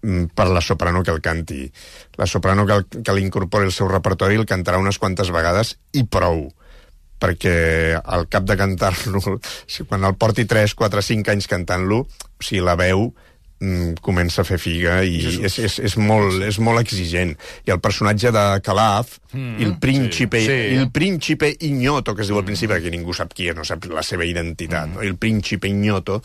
Speaker 2: mm, per la soprano que el canti. La soprano que, el, que l'incorpori al seu repertori el cantarà unes quantes vegades i prou perquè al cap de cantar-lo, *laughs* o sigui, quan el porti 3, 4, 5 anys cantant-lo, o sigui, la veu mm, comença a fer figa i és, és, és, molt, és molt exigent. I el personatge de Calaf, mm, el príncipe,
Speaker 1: sí,
Speaker 2: sí,
Speaker 1: sí.
Speaker 2: el príncipe Ignoto, que es diu al principi, que ningú sap qui és, no sap la seva identitat, mm. no? el príncipe Ignoto,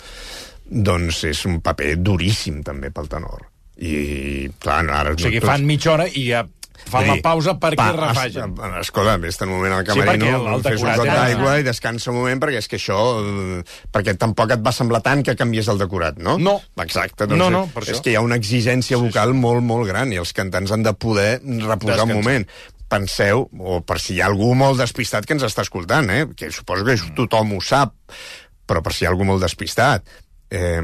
Speaker 2: doncs és un paper duríssim també pel tenor. I, clar, no, ara...
Speaker 1: O sigui, fan mitja hora i ja fan la pausa perquè pa, refagen.
Speaker 2: Es, eh, escolta, vés un moment al
Speaker 1: Sí,
Speaker 2: camerino,
Speaker 1: perquè el-
Speaker 2: sí,
Speaker 1: el
Speaker 2: fes un
Speaker 1: decorat
Speaker 2: got
Speaker 1: era-
Speaker 2: d'aigua i descansa un moment, perquè és que això... eh, Perquè tampoc et va semblar tant que canvies el decorat, no?
Speaker 1: No.
Speaker 2: Exacte. Doncs
Speaker 1: No, no,
Speaker 2: eh,
Speaker 1: per
Speaker 2: és
Speaker 1: això.
Speaker 2: que hi ha una exigència vocal molt, molt gran i els cantants han de poder reposar
Speaker 1: Descansar.
Speaker 2: un moment. Penseu, o per si hi ha algú molt despistat que ens està escoltant, eh? que suposo que això tothom ho sap, però per si hi ha algú molt despistat, eh,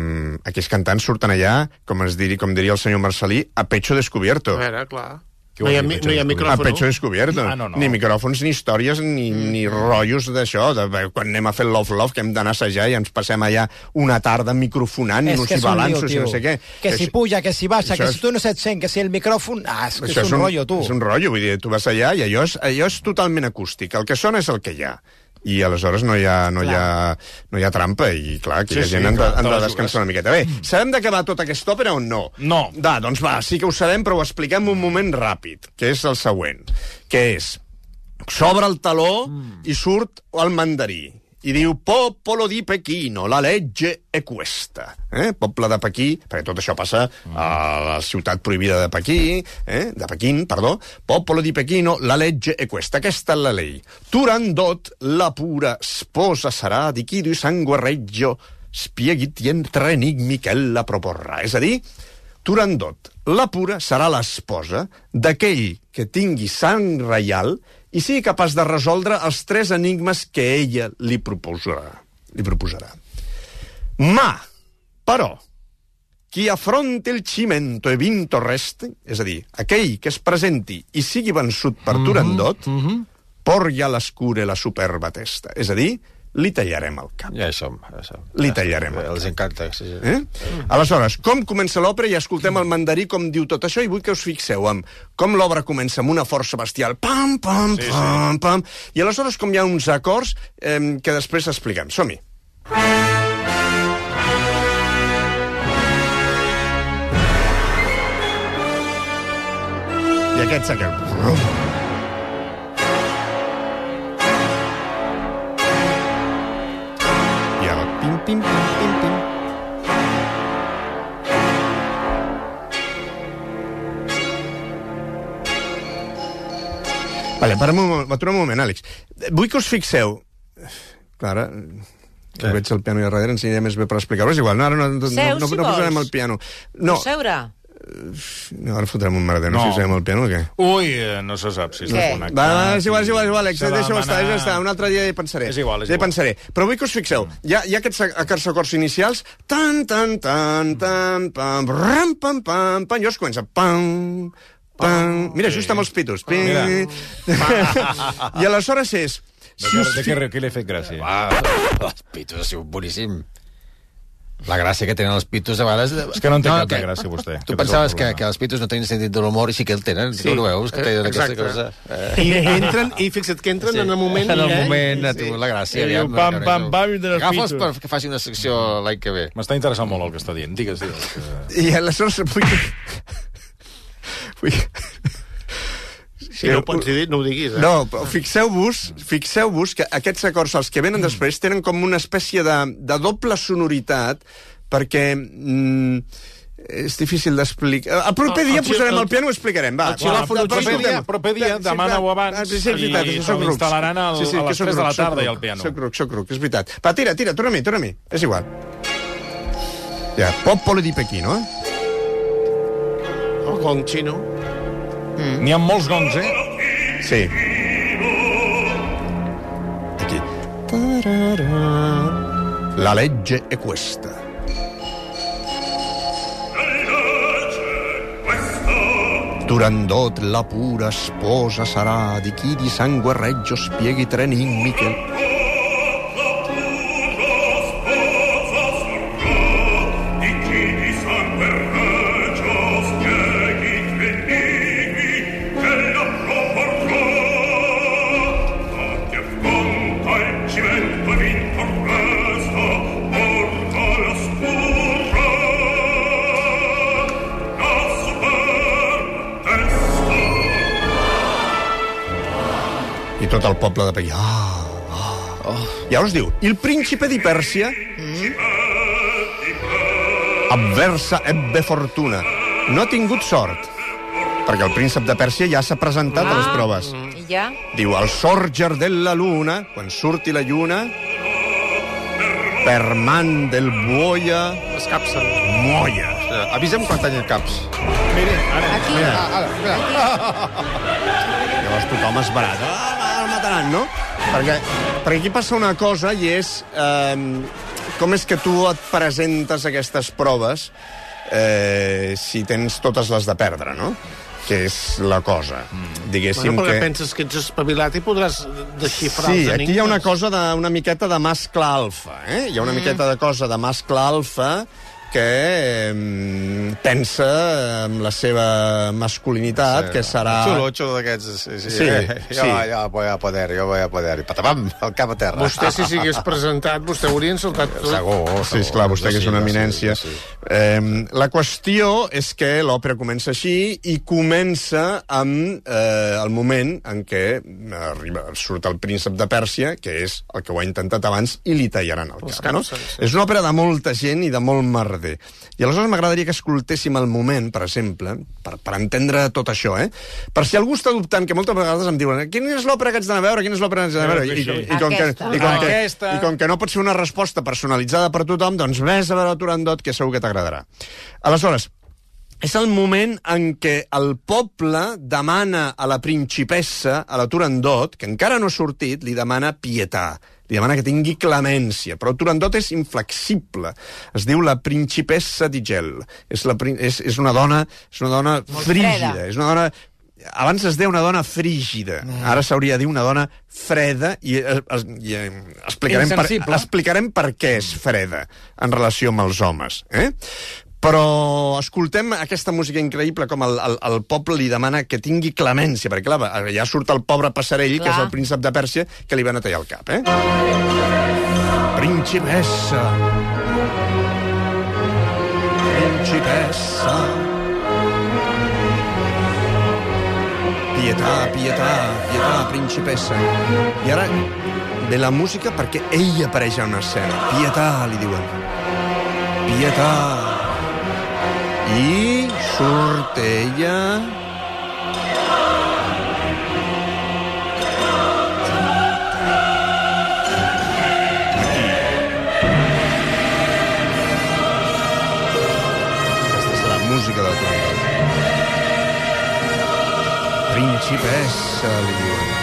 Speaker 2: aquests cantants surten allà, com, es diri, com diria el senyor Marcelí, a pecho descobierto.
Speaker 3: A veure, clar.
Speaker 1: Què
Speaker 3: No
Speaker 1: vol
Speaker 3: hi ha,
Speaker 1: dir,
Speaker 3: mi-
Speaker 1: pecho
Speaker 3: no hi ha
Speaker 1: descobert?
Speaker 2: A
Speaker 3: micròfon.
Speaker 2: pecho descobierto.
Speaker 1: Ah, no, no.
Speaker 2: Ni micròfons, ni històries, ni, mm. ni rotllos d'això. de- de- Quan anem a fer el Love Love, que hem d'anar a assajar i ens passem allà una tarda microfonant,
Speaker 5: És
Speaker 2: no
Speaker 5: que
Speaker 2: si
Speaker 5: és un lío,
Speaker 2: balanços,
Speaker 5: tio.
Speaker 2: no sé què.
Speaker 5: Que si puja, que si baixa,
Speaker 2: Això
Speaker 5: que
Speaker 2: és-
Speaker 5: si tu no se't sent, que si el micròfon... Ah, és que és un rotllo, tu.
Speaker 2: És un rotllo, vull dir, tu vas allà i allò és, allò és totalment acústic. El que sona és el que hi ha. I aleshores no hi ha, no hi ha, no hi ha trampa i, clar,
Speaker 1: Sí,
Speaker 2: que sí, la
Speaker 1: sí,
Speaker 2: gent sí,
Speaker 1: clar,
Speaker 2: clar, han
Speaker 1: te
Speaker 2: de
Speaker 1: la jugues.
Speaker 2: descansar una miqueta. Bé, sabem d'acabar tota aquesta òpera o no?
Speaker 1: No.
Speaker 2: Da, doncs va, sí que ho sabem, però ho expliquem un moment ràpid, que és el següent, que és s'obre el taló mm. i surt el mandarí i diu popolo di Pechino, la legge è questa. Eh? Poble de Pequí, perquè tot això passa a la ciutat prohibida de Pequí, eh? de Pequín, perdó. Popolo di Pechino, la legge è questa. Aquesta è la lei. Turandot, la pura sposa sarà di chi di sangue reggio spieghi entre enigmi che la proporrà. És a dir, Turandot, la pura, serà l'esposa d'aquell que tingui sang reial i sigui capaç de resoldre els tres enigmes que ella li proposarà. Li proposarà. Ma, però, qui afronti el cimento e vinto rest, és a dir, aquell que es presenti i sigui vençut per Turandot, mm -hmm. porgui a l'escure la superba testa. És a dir, li tallarem el cap.
Speaker 7: Ja hi som. Ja hi som.
Speaker 2: Li
Speaker 7: Ja
Speaker 2: tallarem
Speaker 7: som.
Speaker 2: el
Speaker 7: Els encanta. Sí, sí.
Speaker 2: Eh? Aleshores, com comença l'òpera? Ja escoltem el mandarí com diu tot això i vull que us fixeu en com l'obra comença amb una força bestial. Pam, pam, sí, pam, pam. I aleshores com hi ha uns acords eh, que després expliquem. Som-hi. I aquest s'acaba. Vale, para'm un moment, atura'm un moment, Àlex. Vull que us fixeu... Clara, que veig el piano allà darrere, ens aniria més bé per explicar-ho. És igual, no, ara no, no,
Speaker 4: Seu,
Speaker 2: no,
Speaker 4: si
Speaker 2: no posarem
Speaker 4: vols.
Speaker 2: el piano. No,
Speaker 4: Seure.
Speaker 2: no ara fotrem un merder, no,
Speaker 1: No.
Speaker 2: no. fixem el piano o què?
Speaker 1: Ui, eh, no se sap si és
Speaker 4: Què?
Speaker 1: desconnectat.
Speaker 2: Va, va, és igual, és igual, és igual, Alex,
Speaker 1: Se va
Speaker 2: deixa-ho estar,
Speaker 1: manar.
Speaker 2: deixa estar, un altre dia hi pensaré.
Speaker 1: És igual, és
Speaker 2: ja hi
Speaker 1: igual. Mm.
Speaker 2: pensaré. Però vull que us fixeu, hi ha, hi ha aquests acords inicials, tan, tan, tan, tan, pam, ram, pam, pam, pam, i els comença, pam, pam, mira, just amb els pitos, pim,
Speaker 1: *laughs*
Speaker 2: i aleshores és, si us
Speaker 1: De què, de què li he fet gràcia?
Speaker 7: Ah, els pitos ha sigut boníssim. La gràcia que tenen els pitos a vegades...
Speaker 1: És que no en té cap de gràcia, vostè. Aquest és
Speaker 7: Tu
Speaker 1: el
Speaker 7: pensaves que,
Speaker 1: problema.
Speaker 7: que els pitos no tenien sentit de l'humor i sí que el tenen. Sí. Tu no veus que tenen aquesta cosa? Eh,
Speaker 3: I entren, i fixa't que entren
Speaker 7: sí.
Speaker 3: sí. en el moment...
Speaker 7: En el
Speaker 3: eh?
Speaker 7: moment, a tu, la gràcia.
Speaker 6: I diu,
Speaker 7: aviam,
Speaker 6: pam,
Speaker 7: no, no,
Speaker 6: pam,
Speaker 7: no.
Speaker 6: pam, i tenen els
Speaker 7: Agafa'ls
Speaker 6: pitos.
Speaker 7: perquè faci una secció l'any que ve.
Speaker 1: M'està interessant molt el que està dient. Digues, digues. Que...
Speaker 2: i aleshores vull que... Vull que...
Speaker 3: Si no ho pots dir, no ho diguis, eh?
Speaker 2: No, però fixeu-vos fixeu-vos que aquests acords, els que
Speaker 1: Mm.
Speaker 2: venen després, tenen com una espècie de, de doble sonoritat, perquè... Mm, és difícil d'explicar. El proper
Speaker 3: El-
Speaker 2: dia
Speaker 3: el xil-
Speaker 2: posarem el
Speaker 3: el-
Speaker 2: piano i ho explicarem, va.
Speaker 3: el xilòfon
Speaker 2: Va,
Speaker 3: ho explico.
Speaker 2: escoltem.
Speaker 1: El proper dia,
Speaker 2: Sí,
Speaker 1: demana-ho abans
Speaker 2: Ah, Sí, sí, és veritat,
Speaker 1: i
Speaker 2: és que soc rucs.
Speaker 1: l'instal·laran al- a
Speaker 2: que
Speaker 1: les
Speaker 2: soc
Speaker 1: tres de la
Speaker 2: ruc, soc
Speaker 1: tarda i
Speaker 2: ruc,
Speaker 1: al piano.
Speaker 2: Soc ruc, soc ruc, és veritat. Va, tira, tira, torna-m'hi, torna-m'hi. És igual. Ja, Popolo di Pechino, eh?
Speaker 3: El gong xino.
Speaker 1: N'hi ha molts gongs, eh?
Speaker 2: Sí. Aquí. Tarara. La legge è questa. Turandot la pura sposa sarà di chi di sangue reggio spieghi tre enigmi che... I tot el poble de Peggy. Ah, ah. I llavors diu, il principe di Persia avversa ebbe fortuna. No ha tingut sort, perquè el príncep de Pèrsia ja s'ha presentat
Speaker 4: Ah.
Speaker 2: a les proves.
Speaker 4: I ja?
Speaker 2: Diu, el sorger de la luna, quan surti la lluna, per man del buoia,
Speaker 3: Es capsen.
Speaker 2: moia.
Speaker 7: Eh, Avisa'm quan tallin caps.
Speaker 4: Aquí?
Speaker 7: Ara, mira.
Speaker 2: Llavors tothom es barat. Ah, el mataran, no? Perquè, perquè aquí passa una cosa i és... Eh, com és que tu et presentes a aquestes proves eh, si tens totes les de perdre, no? Que és la cosa. Diguéssim
Speaker 3: Bueno, perquè
Speaker 2: que...
Speaker 3: penses que ets espavilat i podràs desxifrar
Speaker 2: Sí,
Speaker 3: els enigmes.
Speaker 2: aquí hi ha una cosa de, una miqueta de mascle alfa, eh? Hi ha una mm. miqueta de cosa de mascle alfa que eh, pensa en la seva masculinitat, sí, que serà...
Speaker 7: Xulo, xulo d'aquests. Sí, sí.
Speaker 2: Sí,
Speaker 7: jo,
Speaker 2: sí.
Speaker 7: jo voy a poder, jo voy a poder. I patapam, el cap a terra.
Speaker 3: Vostè, si
Speaker 7: *laughs*
Speaker 3: s'hagués presentat, vostè hauria insultat tot.
Speaker 7: Segur, segur.
Speaker 2: Oh, Sí, esclar, vostè que és una eminència. Eh, la qüestió és que l'òpera comença així i comença amb eh, el moment en què eh, arriba, surt el príncep de Pèrsia, que és el que ho ha intentat abans, i li tallaran el cap. No? És una òpera de molta gent i de molt merder. I aleshores m'agradaria que escoltéssim el moment, per exemple, per, per entendre tot això, eh? Per si algú està dubtant, que moltes vegades em diuen quina és l'òpera que haig d'anar a veure, quina és l'òpera que haig d'anar a veure, i, i, i, com que, i, com que, i com que no pot ser una resposta personalitzada per tothom, doncs ves a veure Turandot, que segur que t'agradarà. Aleshores, és el moment en què el poble demana a la principessa, a la Turandot, que encara no ha sortit, li demana pietà, li demana que tingui clemència, però Turandot és inflexible. Es diu la principessa di gel. És, la, prin- és, és una dona, és una dona frígida,
Speaker 4: freda.
Speaker 2: és una dona abans es deia una dona frígida, ara s'hauria de dir una dona freda i, eh, es, i eh, explicarem, per,
Speaker 6: Insensible.
Speaker 2: explicarem per què és freda en relació amb els homes. Eh? Però escoltem aquesta música increïble com el, el, el poble li demana que tingui clemència, perquè clar, va, ja surt el pobre passarell, que
Speaker 4: Clar.
Speaker 2: és el príncep de Pèrsia, que li van a tallar el cap. Eh? Principessa Principessa Pietà, pietà, pietà, principessa. I ara ve la música perquè ell apareix a una escena. Pietà, li diuen. Pietà. I surt ella... principessa, li diuen.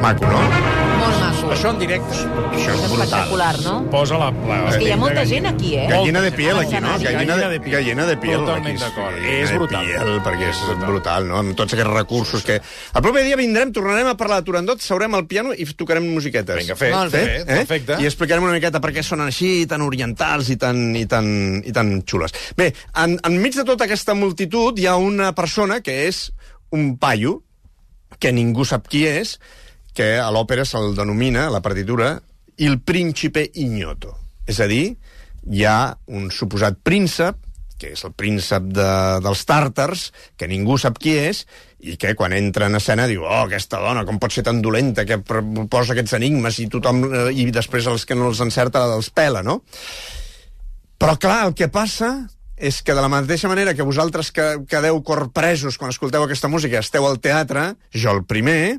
Speaker 2: Maco, no?
Speaker 4: Molt maco.
Speaker 1: Això en directe.
Speaker 2: Això és brutal.
Speaker 4: Espectacular, no?
Speaker 1: Posa la... la
Speaker 4: És que hi ha molta gent aquí, eh?
Speaker 2: Gallina de piel, aquí, no?
Speaker 4: Escenari.
Speaker 2: Gallina
Speaker 1: Gallina
Speaker 2: de,
Speaker 1: de piel.
Speaker 2: gallina de piel.
Speaker 1: Totalment
Speaker 2: aquí,
Speaker 1: d'acord.
Speaker 2: gallina
Speaker 1: És
Speaker 2: de
Speaker 1: brutal.
Speaker 2: Piel, perquè és brutal, no? Amb tots aquests recursos que... El proper dia vindrem, tornarem a parlar de Turandot, seurem al piano i tocarem musiquetes. eh?
Speaker 1: Vinga, fet.
Speaker 4: Molt bé.
Speaker 1: Fet, Perfecte.
Speaker 2: I explicarem una miqueta per què són així, tan orientals i tan, i tan, i tan xules. Bé, en, enmig de tota aquesta multitud hi ha una persona que és un paio, que ningú sap qui és, que a l'òpera se'l denomina, a la partitura, il príncipe ignoto. És a dir, hi ha un suposat príncep, que és el príncep de, dels tàrtars, que ningú sap qui és, i que quan entra en escena diu oh, aquesta dona, com pot ser tan dolenta que pr- posa aquests enigmes i tothom eh, i després els que no els encerta els pela, no? Però clar, el que passa és que de la mateixa manera que vosaltres que quedeu corpresos quan escolteu aquesta música, esteu al teatre, jo el primer,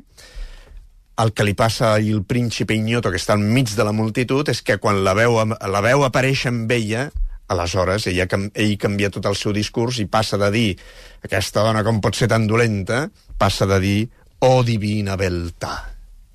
Speaker 2: el que li passa a il príncipe Ignoto, que està enmig de la multitud, és que quan la veu, la veu aparèixer amb ella, aleshores ella, cam- ell canvia tot el seu discurs i passa de dir aquesta dona com pot ser tan dolenta, passa de dir oh divina beltà.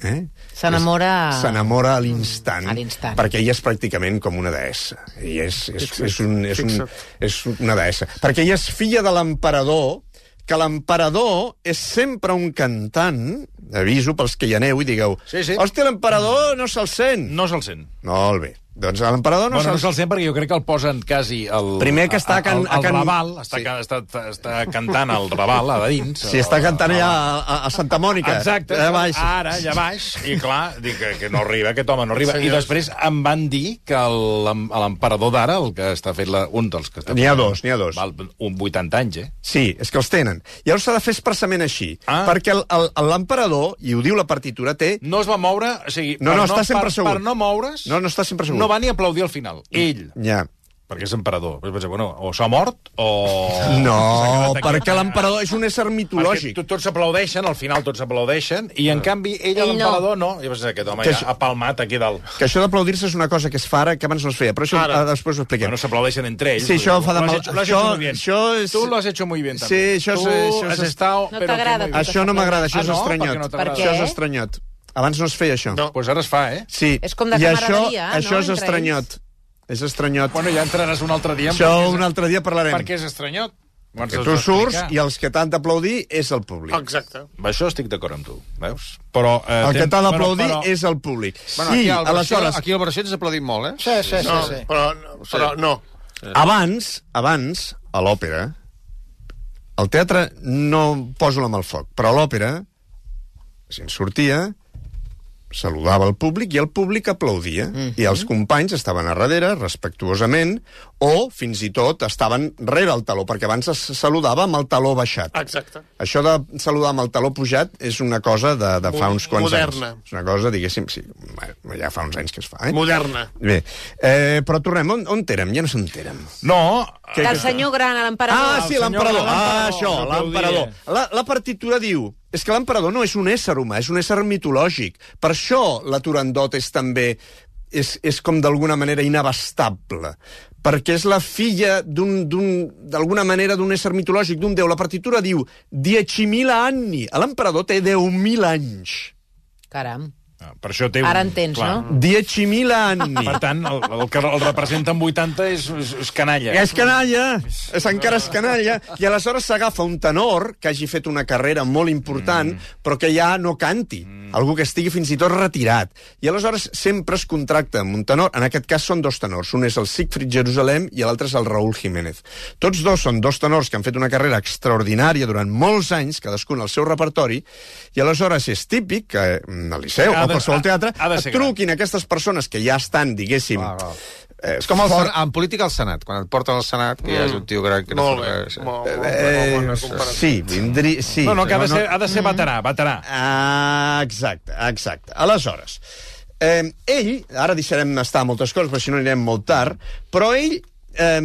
Speaker 2: Eh?
Speaker 4: S'enamora-
Speaker 2: És- S'enamora a l'instant.
Speaker 4: Mm, a l'instant.
Speaker 2: Perquè ella és pràcticament com una deessa. I és, és, és, un, és, un, és una deessa. Perquè ella és filla de l'emperador, que l'emperador és sempre un cantant, aviso pels que hi aneu i digueu,
Speaker 1: Sí, sí.
Speaker 2: hòstia, l'emperador no se'l sent.
Speaker 1: No se'l sent.
Speaker 2: Molt bé. Doncs l'emperador no
Speaker 1: bueno, no
Speaker 2: se'l
Speaker 1: se'l sent perquè jo crec que el posen quasi... El,
Speaker 2: Primer que està a
Speaker 1: El,
Speaker 2: Can- a
Speaker 1: el,
Speaker 2: Can-
Speaker 1: el Raval, està,
Speaker 2: Sí.
Speaker 1: ca- està, està, està cantant el Raval, a dins. Ah,
Speaker 2: Si està cantant allà a, a, a Santa Mònica. eh,
Speaker 1: Exacte, Ah.
Speaker 2: Allà baix.
Speaker 1: ara, allà baix, i clar, dic que, que no arriba, aquest home no arriba. I
Speaker 3: Senyors.
Speaker 1: després em van dir que el- l'em- l'emperador d'ara, el que està fent la, un dels que està
Speaker 2: N'hi ha dos, n'hi ha dos.
Speaker 1: Val, un 80 anys, eh?
Speaker 2: Sí, és que els tenen. Llavors s'ha de fer expressament així.
Speaker 1: Ah.
Speaker 2: Perquè el- el- l'emperador, i ho diu la partitura, té...
Speaker 1: No es va moure, o sigui...
Speaker 2: No,
Speaker 1: per
Speaker 2: no, està sempre
Speaker 1: per,
Speaker 2: assegut.
Speaker 1: Per no moure's...
Speaker 2: No, no, està sempre Mm. assegut.
Speaker 1: No va ni aplaudir al final. Ell,
Speaker 2: Ja.
Speaker 1: perquè és emperador. Però pensa, bueno, o s'ha mort, o...
Speaker 2: No, perquè l'emperador és un ésser
Speaker 1: Lògic.
Speaker 2: mitològic.
Speaker 1: Tots s'aplaudeixen, al final tots s'aplaudeixen, i en canvi ell,
Speaker 4: Ell no.
Speaker 1: l'emperador, no. I pensa, aquest home
Speaker 2: Eh. Que
Speaker 1: ja
Speaker 2: això-
Speaker 1: ha palmat aquí dalt.
Speaker 2: Que això d'aplaudir-se és una cosa que es fa ara, que abans no es feia, però això
Speaker 3: Ara.
Speaker 2: ara. després ho expliquem.
Speaker 1: Bueno, s'aplaudeixen entre ells.
Speaker 2: Sí, això fa de
Speaker 1: Lo has
Speaker 2: mal-
Speaker 1: hecho- lo has
Speaker 2: això-
Speaker 1: hecho muy bien.
Speaker 2: això és-
Speaker 1: Tu lo has hecho muy bien,
Speaker 2: Sí,
Speaker 1: també.
Speaker 2: això és-
Speaker 1: Tu
Speaker 2: això és-
Speaker 1: has estado...
Speaker 4: No
Speaker 1: pero que
Speaker 4: t'agrada,
Speaker 1: muy bien.
Speaker 4: tu.
Speaker 2: Això no m'agrada, això
Speaker 1: Ah,
Speaker 2: és
Speaker 1: no? Per
Speaker 2: estranyot.
Speaker 1: què no t'agrada?
Speaker 4: Per què?
Speaker 2: això és estranyot. Abans no es feia això.
Speaker 3: No.
Speaker 1: Pues ara es fa, eh?
Speaker 2: Sí.
Speaker 4: És com de
Speaker 2: I això,
Speaker 4: camaraderia, no?,
Speaker 2: això és
Speaker 4: entre
Speaker 2: estranyot. És estranyot.
Speaker 1: Bueno, ja entraràs un altre dia. en
Speaker 2: això
Speaker 1: per què és-
Speaker 2: un altre dia parlarem.
Speaker 1: Per què és estranyot? Ens
Speaker 2: Que
Speaker 1: has
Speaker 2: tu surts
Speaker 1: d'explicar.
Speaker 2: i els que t'han d'aplaudir és el públic.
Speaker 3: Exacte.
Speaker 1: Això estic d'acord amb tu, veus? Però, eh,
Speaker 2: El que
Speaker 1: tem-
Speaker 2: t'ha
Speaker 1: però-
Speaker 2: d'aplaudir
Speaker 1: però-
Speaker 2: és el públic.
Speaker 7: Bueno,
Speaker 2: I,
Speaker 7: aquí, al Barcelona-
Speaker 2: aleshores,
Speaker 7: aquí al Barcelona ens aplaudim molt, eh?
Speaker 5: Sí, sí, sí.
Speaker 3: No,
Speaker 5: sí.
Speaker 3: però, però no.
Speaker 2: abans, abans, a l'òpera, al teatre no poso la mà al foc, però a l'òpera, si en sortia, saludava el públic i el públic aplaudia.
Speaker 3: Mhm.
Speaker 2: I els companys estaven a darrere, respectuosament, o fins i tot estaven rere el taló, perquè abans es saludava amb el taló baixat.
Speaker 3: Exacte.
Speaker 2: Això de saludar amb el taló pujat és una cosa de, de fa
Speaker 3: Mo-
Speaker 2: uns quants
Speaker 3: moderna.
Speaker 2: anys. És una cosa, diguéssim, sí, bueno, ja fa uns anys que es fa, eh?
Speaker 3: Moderna.
Speaker 2: Bé, eh, però tornem, on, on érem? Ja no sé on érem.
Speaker 1: No,
Speaker 2: Què-
Speaker 4: Del
Speaker 2: què-
Speaker 4: senyor gran a l'emperador.
Speaker 2: Ah, sí,
Speaker 1: El senyor
Speaker 2: l'emperador.
Speaker 1: de
Speaker 2: Ah,
Speaker 1: l'emperador,
Speaker 2: això,
Speaker 1: que aplaudia.
Speaker 2: l'emperador. La, la partitura diu... És que l'emperador no és un ésser humà, és un ésser mitològic. Per això la Turandot és també... És, és com d'alguna manera inabastable perquè és la filla d'un- d'un- d'alguna manera d'un ésser mitològic, d'un déu. La partitura diu 10.000 anni. L'emperador té 10.000 anys.
Speaker 4: Caram.
Speaker 1: Ah, per això té un...
Speaker 4: Ara entens,
Speaker 1: clar.
Speaker 4: no?
Speaker 2: 10.000 anni.
Speaker 1: Per tant, el, el que el representa amb 80 és, és, és canalla.
Speaker 2: És canalla, és encara és canalla, i aleshores s'agafa un tenor que hagi fet una carrera molt important,
Speaker 1: Mm.
Speaker 2: però que ja no canti, algú que estigui fins i tot retirat. I aleshores sempre es contracta amb un tenor, en aquest cas són dos tenors, un és el Siegfried Jerusalem i l'altre és el Raúl Jiménez. Tots dos són dos tenors que han fet una carrera extraordinària durant molts anys, cadascun al seu repertori, i aleshores és típic que mm, al Liceu,
Speaker 1: Cada ha
Speaker 2: o
Speaker 1: de-
Speaker 2: qualsevol teatre,
Speaker 1: ha- ha de ser gran.
Speaker 2: truquin a aquestes persones que ja estan, diguéssim...
Speaker 7: Va, va.
Speaker 2: eh,
Speaker 7: És com el,
Speaker 2: fora-
Speaker 7: Sen- en política al Senat, quan et porten al Senat, que mm. ja és un tio gran... Que
Speaker 3: Molt bé,
Speaker 7: no fa res.
Speaker 3: molt, molt, molt
Speaker 2: Eh,
Speaker 3: bona comparació.
Speaker 2: sí, vindria... Sí,
Speaker 1: No, no, que ha de ser, ha de ser veterà, veterà.
Speaker 2: Ah, exacte, exacte. Aleshores, eh, ell, ara deixarem estar moltes coses, perquè si no anirem molt tard, però ell, eh,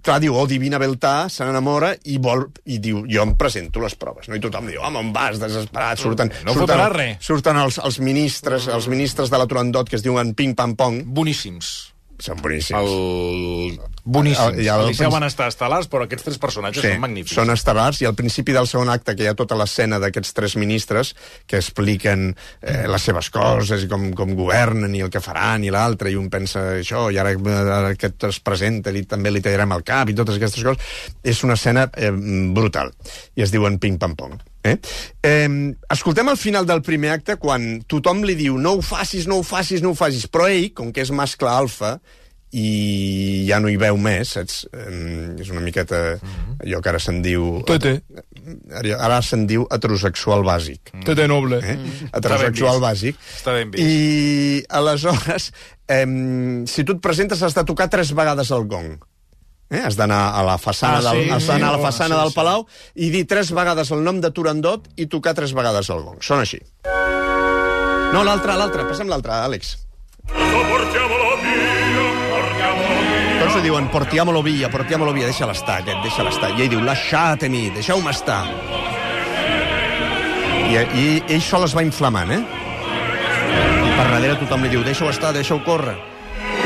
Speaker 2: clar, diu, oh, divina beltà, se n'enamora i vol, i diu, jo em presento les proves, no? I tothom diu, home, on vas, desesperat, surten...
Speaker 1: No
Speaker 2: surten,
Speaker 1: fotrà res.
Speaker 2: Surten els, els ministres, els ministres de la Turandot, que es diuen Ping Pam Pong,
Speaker 1: Boníssims.
Speaker 2: són boníssims.
Speaker 1: El... Boníssims.
Speaker 2: El-
Speaker 1: El,
Speaker 2: i el-
Speaker 1: el, Liceu van estar estel·lars, però aquests tres personatges són magnífics.
Speaker 2: Són estel·lars i al principi del segon acte que hi ha tota l'escena d'aquests tres ministres que expliquen eh, les seves coses i com, com governen i el que faran i l'altre i un pensa això i ara, eh, ara aquest es presenta i també li tallarem el cap i totes aquestes coses. És una escena eh, brutal i es diuen ping-pam-pong. Eh? Eh, escoltem el final del primer acte quan tothom li diu no ho facis, no ho facis, no ho facis però ell, com que és mascle alfa i ja no hi veu més, saps? Em, És una miqueta
Speaker 1: Mhm.
Speaker 2: allò que ara se'n diu...
Speaker 1: eh?
Speaker 6: Tete.
Speaker 2: Ara, ara se'n diu heterosexual bàsic.
Speaker 6: Tete noble.
Speaker 2: Eh? Heterosexual
Speaker 1: vist.
Speaker 2: bàsic.
Speaker 1: Mhm. Està ben vist.
Speaker 2: I aleshores, em, si tu et presentes has de tocar tres vegades el gong. Eh? Has d'anar a la façana,
Speaker 1: Ah,
Speaker 2: del,
Speaker 1: sí?
Speaker 2: has d'anar a la
Speaker 1: Sí,
Speaker 2: façana
Speaker 1: sí,
Speaker 2: del
Speaker 1: sí.
Speaker 2: Palau i dir tres vegades el nom de Turandot i tocar tres vegades el gong. Són així. No, l'altre, l'altre. Passa'm l'altre, Àlex. Tots li diuen, portiamolo via, portiamolo via, deixa-la estar, aquest, deixa-la estar. I ell diu, lasciatemi, deixeu-me estar. I, I ell sol es va inflamant, eh? I per darrere tothom li diu, deixa-ho estar, deixa-ho córrer.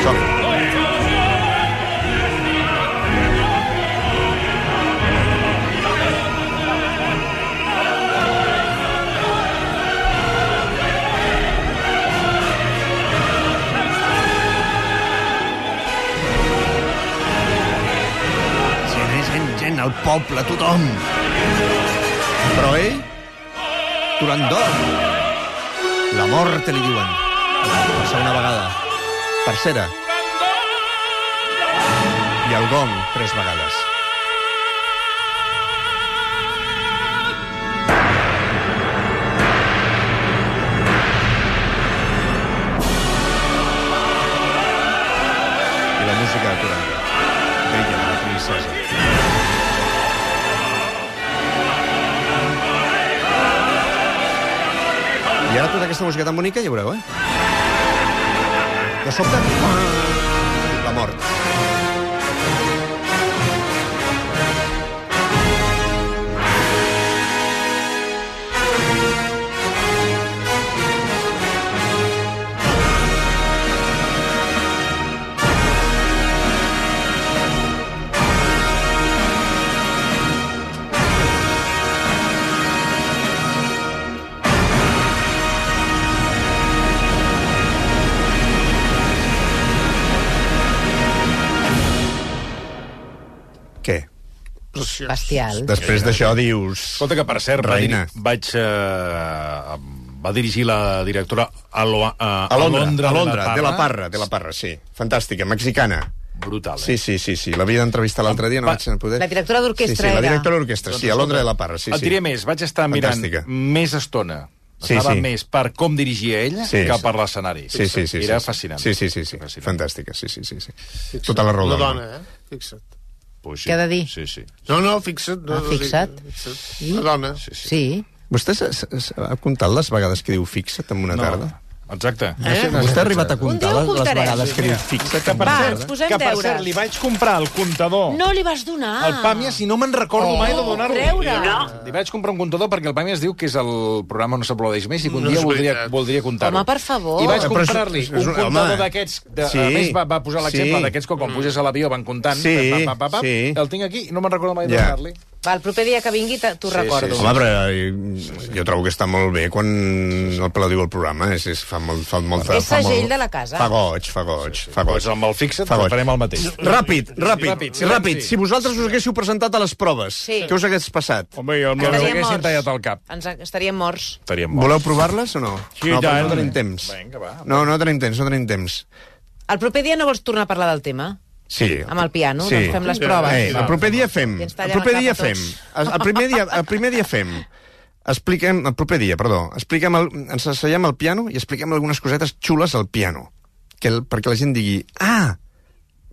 Speaker 2: Som. Gent, eh? gent, gent, el poble, tothom. Però ell, Turandot, la mort li diuen. Per segona vegada. Tercera. I el gong, tres vegades. I la música de Turandot. Brilla de la princesa. I ara tota aquesta música tan bonica, ja veureu, eh? De sobte... La mort. Què?
Speaker 4: Bestial.
Speaker 2: Després d'això dius...
Speaker 1: Escolta, que per cert,
Speaker 2: Reina.
Speaker 1: va, dir- vaig, eh, va dirigir la directora eh, a, lo, a,
Speaker 2: A Londra, a Londra,
Speaker 1: Parra.
Speaker 2: de la Parra, de la Parra, sí. Fantàstica, mexicana.
Speaker 1: Brutal, eh?
Speaker 2: Sí, sí, sí, sí. L'havia d'entrevistar l'altre dia, no
Speaker 1: Va- Doncs
Speaker 2: vaig poder...
Speaker 4: La directora d'orquestra
Speaker 2: sí, sí, la
Speaker 4: era.
Speaker 2: directora d'orquestra, sí, a Londra de la Parra, sí,
Speaker 1: Et diré
Speaker 2: sí.
Speaker 1: més, vaig estar
Speaker 2: Fantàstica.
Speaker 1: mirant més estona.
Speaker 2: Sí,
Speaker 1: Estava
Speaker 2: sí.
Speaker 1: més per com dirigia ella
Speaker 2: Sí,
Speaker 1: que
Speaker 2: sí.
Speaker 1: per l'escenari.
Speaker 2: Sí, sí, sí.
Speaker 1: Doncs Era
Speaker 2: sí, sí.
Speaker 1: fascinant.
Speaker 2: Sí, sí, sí, sí.
Speaker 1: Fascinant.
Speaker 2: Fantàstica, sí, sí, sí. sí. Tota la raó
Speaker 3: La
Speaker 2: del món.
Speaker 3: dona, eh? Fixa't.
Speaker 1: Pues sí.
Speaker 4: Què ha de dir?
Speaker 1: Sí, sí.
Speaker 3: No, no, fixa't. No,
Speaker 4: Ah,
Speaker 3: no, sí,
Speaker 4: fixa't.
Speaker 3: fixa't. La dona. Sí,
Speaker 4: Sí.
Speaker 2: Vostè s- s- s- ha comptat les vegades que diu fixa't en una tarda?
Speaker 1: Exacte.
Speaker 3: Ah,
Speaker 4: Eh?
Speaker 2: Vostè ha arribat a comptar
Speaker 4: dia ho
Speaker 2: les, les
Speaker 4: comptarem.
Speaker 2: vegades que diu fixa't en una
Speaker 6: per
Speaker 4: Va,
Speaker 6: cert,
Speaker 4: ens
Speaker 2: tarda?
Speaker 4: posem
Speaker 6: que per
Speaker 4: deures.
Speaker 6: cert, li vaig comprar el comptador.
Speaker 4: No li vas donar.
Speaker 6: El Pàmies, i no me'n recordo
Speaker 4: Oh,
Speaker 6: mai de donar-lo.
Speaker 4: creure.
Speaker 1: No. Li vaig comprar un comptador perquè el Pàmies diu que és el programa on s'aplaudeix més i que un
Speaker 3: No
Speaker 1: dia
Speaker 3: és
Speaker 1: voldria,
Speaker 3: veritat.
Speaker 1: voldria comptar-ho.
Speaker 4: Home, per favor.
Speaker 1: I vaig
Speaker 2: Però és-
Speaker 1: comprar-li
Speaker 2: és
Speaker 1: un
Speaker 2: un- home.
Speaker 1: comptador d'aquests... De,
Speaker 2: Sí.
Speaker 1: A més, va, va posar l'exemple
Speaker 2: Sí.
Speaker 1: d'aquests que quan puges a l'avió van comptant.
Speaker 2: Sí,
Speaker 1: pa, pa, pa, pa,
Speaker 2: sí.
Speaker 1: El tinc aquí i no me'n recordo mai de
Speaker 2: Ja.
Speaker 1: donar-li.
Speaker 4: Va, el proper dia que vingui te- t'ho
Speaker 1: Sí,
Speaker 4: recordo.
Speaker 1: sí,
Speaker 2: Home, però eh, jo trobo que està molt bé quan el Pla diu el programa. És, és, fa molt, fa molt,
Speaker 4: És
Speaker 2: fa
Speaker 4: segell
Speaker 2: molt-
Speaker 4: de la casa.
Speaker 2: Fa goig, fa goig, fa goig.
Speaker 1: Doncs amb el fixa't
Speaker 2: Fa goig.
Speaker 1: farem el mateix.
Speaker 2: Ràpid, ràpid, ràpid.
Speaker 1: Ràpid, sí,
Speaker 2: ràpid.
Speaker 1: sí.
Speaker 2: Si vosaltres us haguéssiu presentat a les proves,
Speaker 4: Sí.
Speaker 2: què us hagués passat?
Speaker 6: Home, jo amb la
Speaker 4: Estaríem
Speaker 1: haguessin
Speaker 4: morts.
Speaker 1: tallat el cap.
Speaker 4: Ens estaríem morts.
Speaker 1: Estaríem morts.
Speaker 2: Voleu provar-les o no?
Speaker 6: Sí,
Speaker 2: no,
Speaker 6: i
Speaker 2: però
Speaker 6: tant.
Speaker 2: no tenim temps.
Speaker 1: Vinga, va.
Speaker 2: No, no tenim temps, no tenim temps.
Speaker 4: El proper dia no vols tornar a parlar del tema?
Speaker 2: Sí.
Speaker 4: Amb el piano? Doncs fem les proves.
Speaker 2: Eh, el proper dia fem.
Speaker 4: I ens
Speaker 2: El
Speaker 4: tallen
Speaker 2: proper
Speaker 4: el cap
Speaker 2: dia
Speaker 4: a
Speaker 2: fem.
Speaker 4: tots.
Speaker 2: El, el primer dia, el primer dia fem expliquem, el proper dia, perdó, expliquem el, ens asseiem al piano i expliquem algunes cosetes xules al piano, que, el- perquè la gent digui, ah,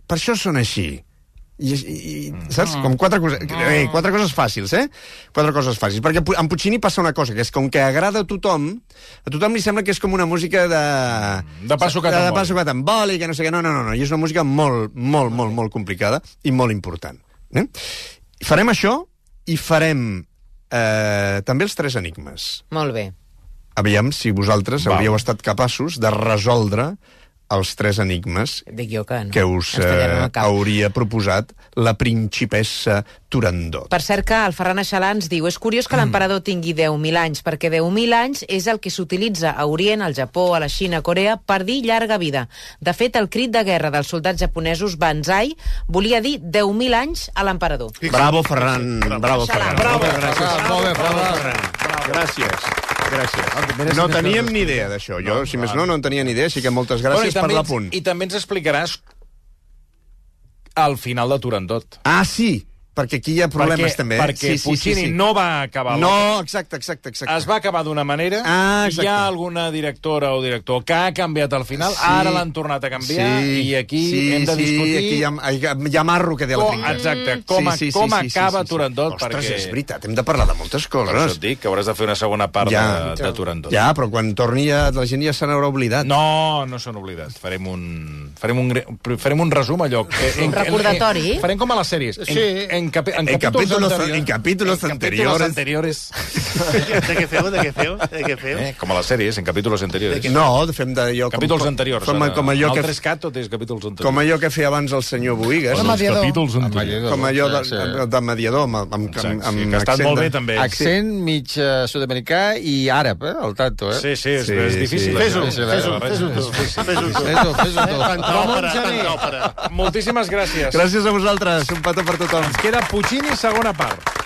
Speaker 2: per això són així. I, i, i
Speaker 1: Mm.
Speaker 2: saps? Com quatre, cose... eh, quatre coses fàcils, eh? Quatre coses fàcils. Perquè pu- amb Puccini passa una cosa, que és com que agrada a tothom, a tothom li sembla que és com una música de...
Speaker 1: De passo que
Speaker 2: de, de
Speaker 1: t'emboli.
Speaker 2: passo que t'emboli, que no sé què. No, no, no, no. I és una música molt, molt, molt, molt complicada i molt important. Eh? Farem això i farem eh, també els tres enigmes.
Speaker 4: Molt bé.
Speaker 2: Aviam si vosaltres
Speaker 1: Val.
Speaker 2: hauríeu estat capaços de resoldre els tres enigmes
Speaker 4: Dic jo que no.
Speaker 2: que us
Speaker 4: Castellà no
Speaker 2: eh,
Speaker 4: m'acaba.
Speaker 2: hauria proposat la principessa Turandot.
Speaker 4: Per cert que el Ferran Aixalà ens diu és curiós que l'emperador tingui 10.000 anys, perquè 10.000 anys és el que s'utilitza a Orient, al Japó, a la Xina, a Corea, per dir llarga vida. De fet, el crit de guerra dels soldats japonesos Banzai volia dir 10.000 anys a l'emperador.
Speaker 2: Bravo, Ferran. Bravo, Ferran. Bravo, gràcies. Molt bé, bravo, Ferran. Ah, Gràcies. Gràcies. No teníem ni idea d'això. Jo, si més no, no en tenia ni idea, així que moltes gràcies per
Speaker 1: i,
Speaker 2: l'apunt.
Speaker 1: ens, I també ens explicaràs al final de Turandot.
Speaker 2: Ah, sí, perquè aquí hi ha problemes
Speaker 1: perquè,
Speaker 2: també. eh?
Speaker 1: Perquè
Speaker 2: sí, sí,
Speaker 1: Puccini
Speaker 2: sí, sí.
Speaker 1: no va acabar la-
Speaker 2: No, exacte, exacte, exacte.
Speaker 1: es va acabar d'una manera,
Speaker 2: Ah,
Speaker 1: hi
Speaker 2: exacte.
Speaker 1: ha alguna directora o director que ha canviat al final,
Speaker 2: Sí.
Speaker 1: ara l'han tornat a canviar, i aquí
Speaker 2: sí,
Speaker 1: hem de discutir...
Speaker 2: Sí, aquí hi ha, hi ha, hi ha marro que té la
Speaker 1: Com-
Speaker 2: trinca.
Speaker 1: exacte, com a- com acaba Turandot,
Speaker 2: Ostres,
Speaker 1: perquè-
Speaker 2: és veritat, hem de parlar de moltes
Speaker 1: Per això
Speaker 2: coses.
Speaker 1: et dic que hauràs de fer una segona part ja,
Speaker 2: Ja.
Speaker 1: de, de Turandot.
Speaker 2: Ja, però quan torni ja, la gent ja se n'haurà oblidat.
Speaker 1: No, no s'han oblidat. Farem un, farem un, gre- farem un resum allò. Que, en, en-
Speaker 4: recordatori.
Speaker 1: En, farem com a les sèries. En,
Speaker 3: Sí.
Speaker 1: en, capi, en,
Speaker 2: En capítulos-
Speaker 1: anterior-
Speaker 2: en capítulos
Speaker 1: capítulos
Speaker 2: anteriores.
Speaker 3: De què feu, de què feu, de què feu?
Speaker 1: Eh, com a les sèries, en capítols anteriors.
Speaker 2: No, fem d'allò... com-
Speaker 1: Capítols
Speaker 2: com-
Speaker 1: anteriors.
Speaker 2: Com,
Speaker 1: ara.
Speaker 2: com, allò
Speaker 1: En
Speaker 2: que,
Speaker 1: el 3CAT tot és capítols anteriors.
Speaker 2: com allò que feia abans el senyor Boigues.
Speaker 5: Home, dia-
Speaker 2: Com,
Speaker 5: Mediador.
Speaker 6: Capítols
Speaker 7: Amb
Speaker 6: anteriors.
Speaker 7: mediador,
Speaker 2: allò de,
Speaker 7: sí, sí.
Speaker 2: de mediador, amb, amb, amb,
Speaker 1: Exacte,
Speaker 2: amb,
Speaker 1: sí, que ha estat
Speaker 2: accent
Speaker 1: molt bé,
Speaker 2: de-
Speaker 1: també.
Speaker 7: Accent mig eh, sud-americà i àrab, eh? Al tanto, eh?
Speaker 1: Sí, sí, és,
Speaker 2: Sí,
Speaker 1: sí, és
Speaker 2: sí.
Speaker 1: difícil.
Speaker 3: Fes-ho,
Speaker 7: Sí, sí, la-
Speaker 3: fes-ho,
Speaker 7: la-
Speaker 3: fes-ho tu. Fes-ho tu.
Speaker 7: Fes-ho, *laughs* fes-ho tu.
Speaker 3: Tanta òpera,
Speaker 7: Xavier.
Speaker 3: tanta òpera.
Speaker 1: Moltíssimes gràcies.
Speaker 2: Gràcies a vosaltres, un petó per tothom.
Speaker 1: Queda Puccini, segona part.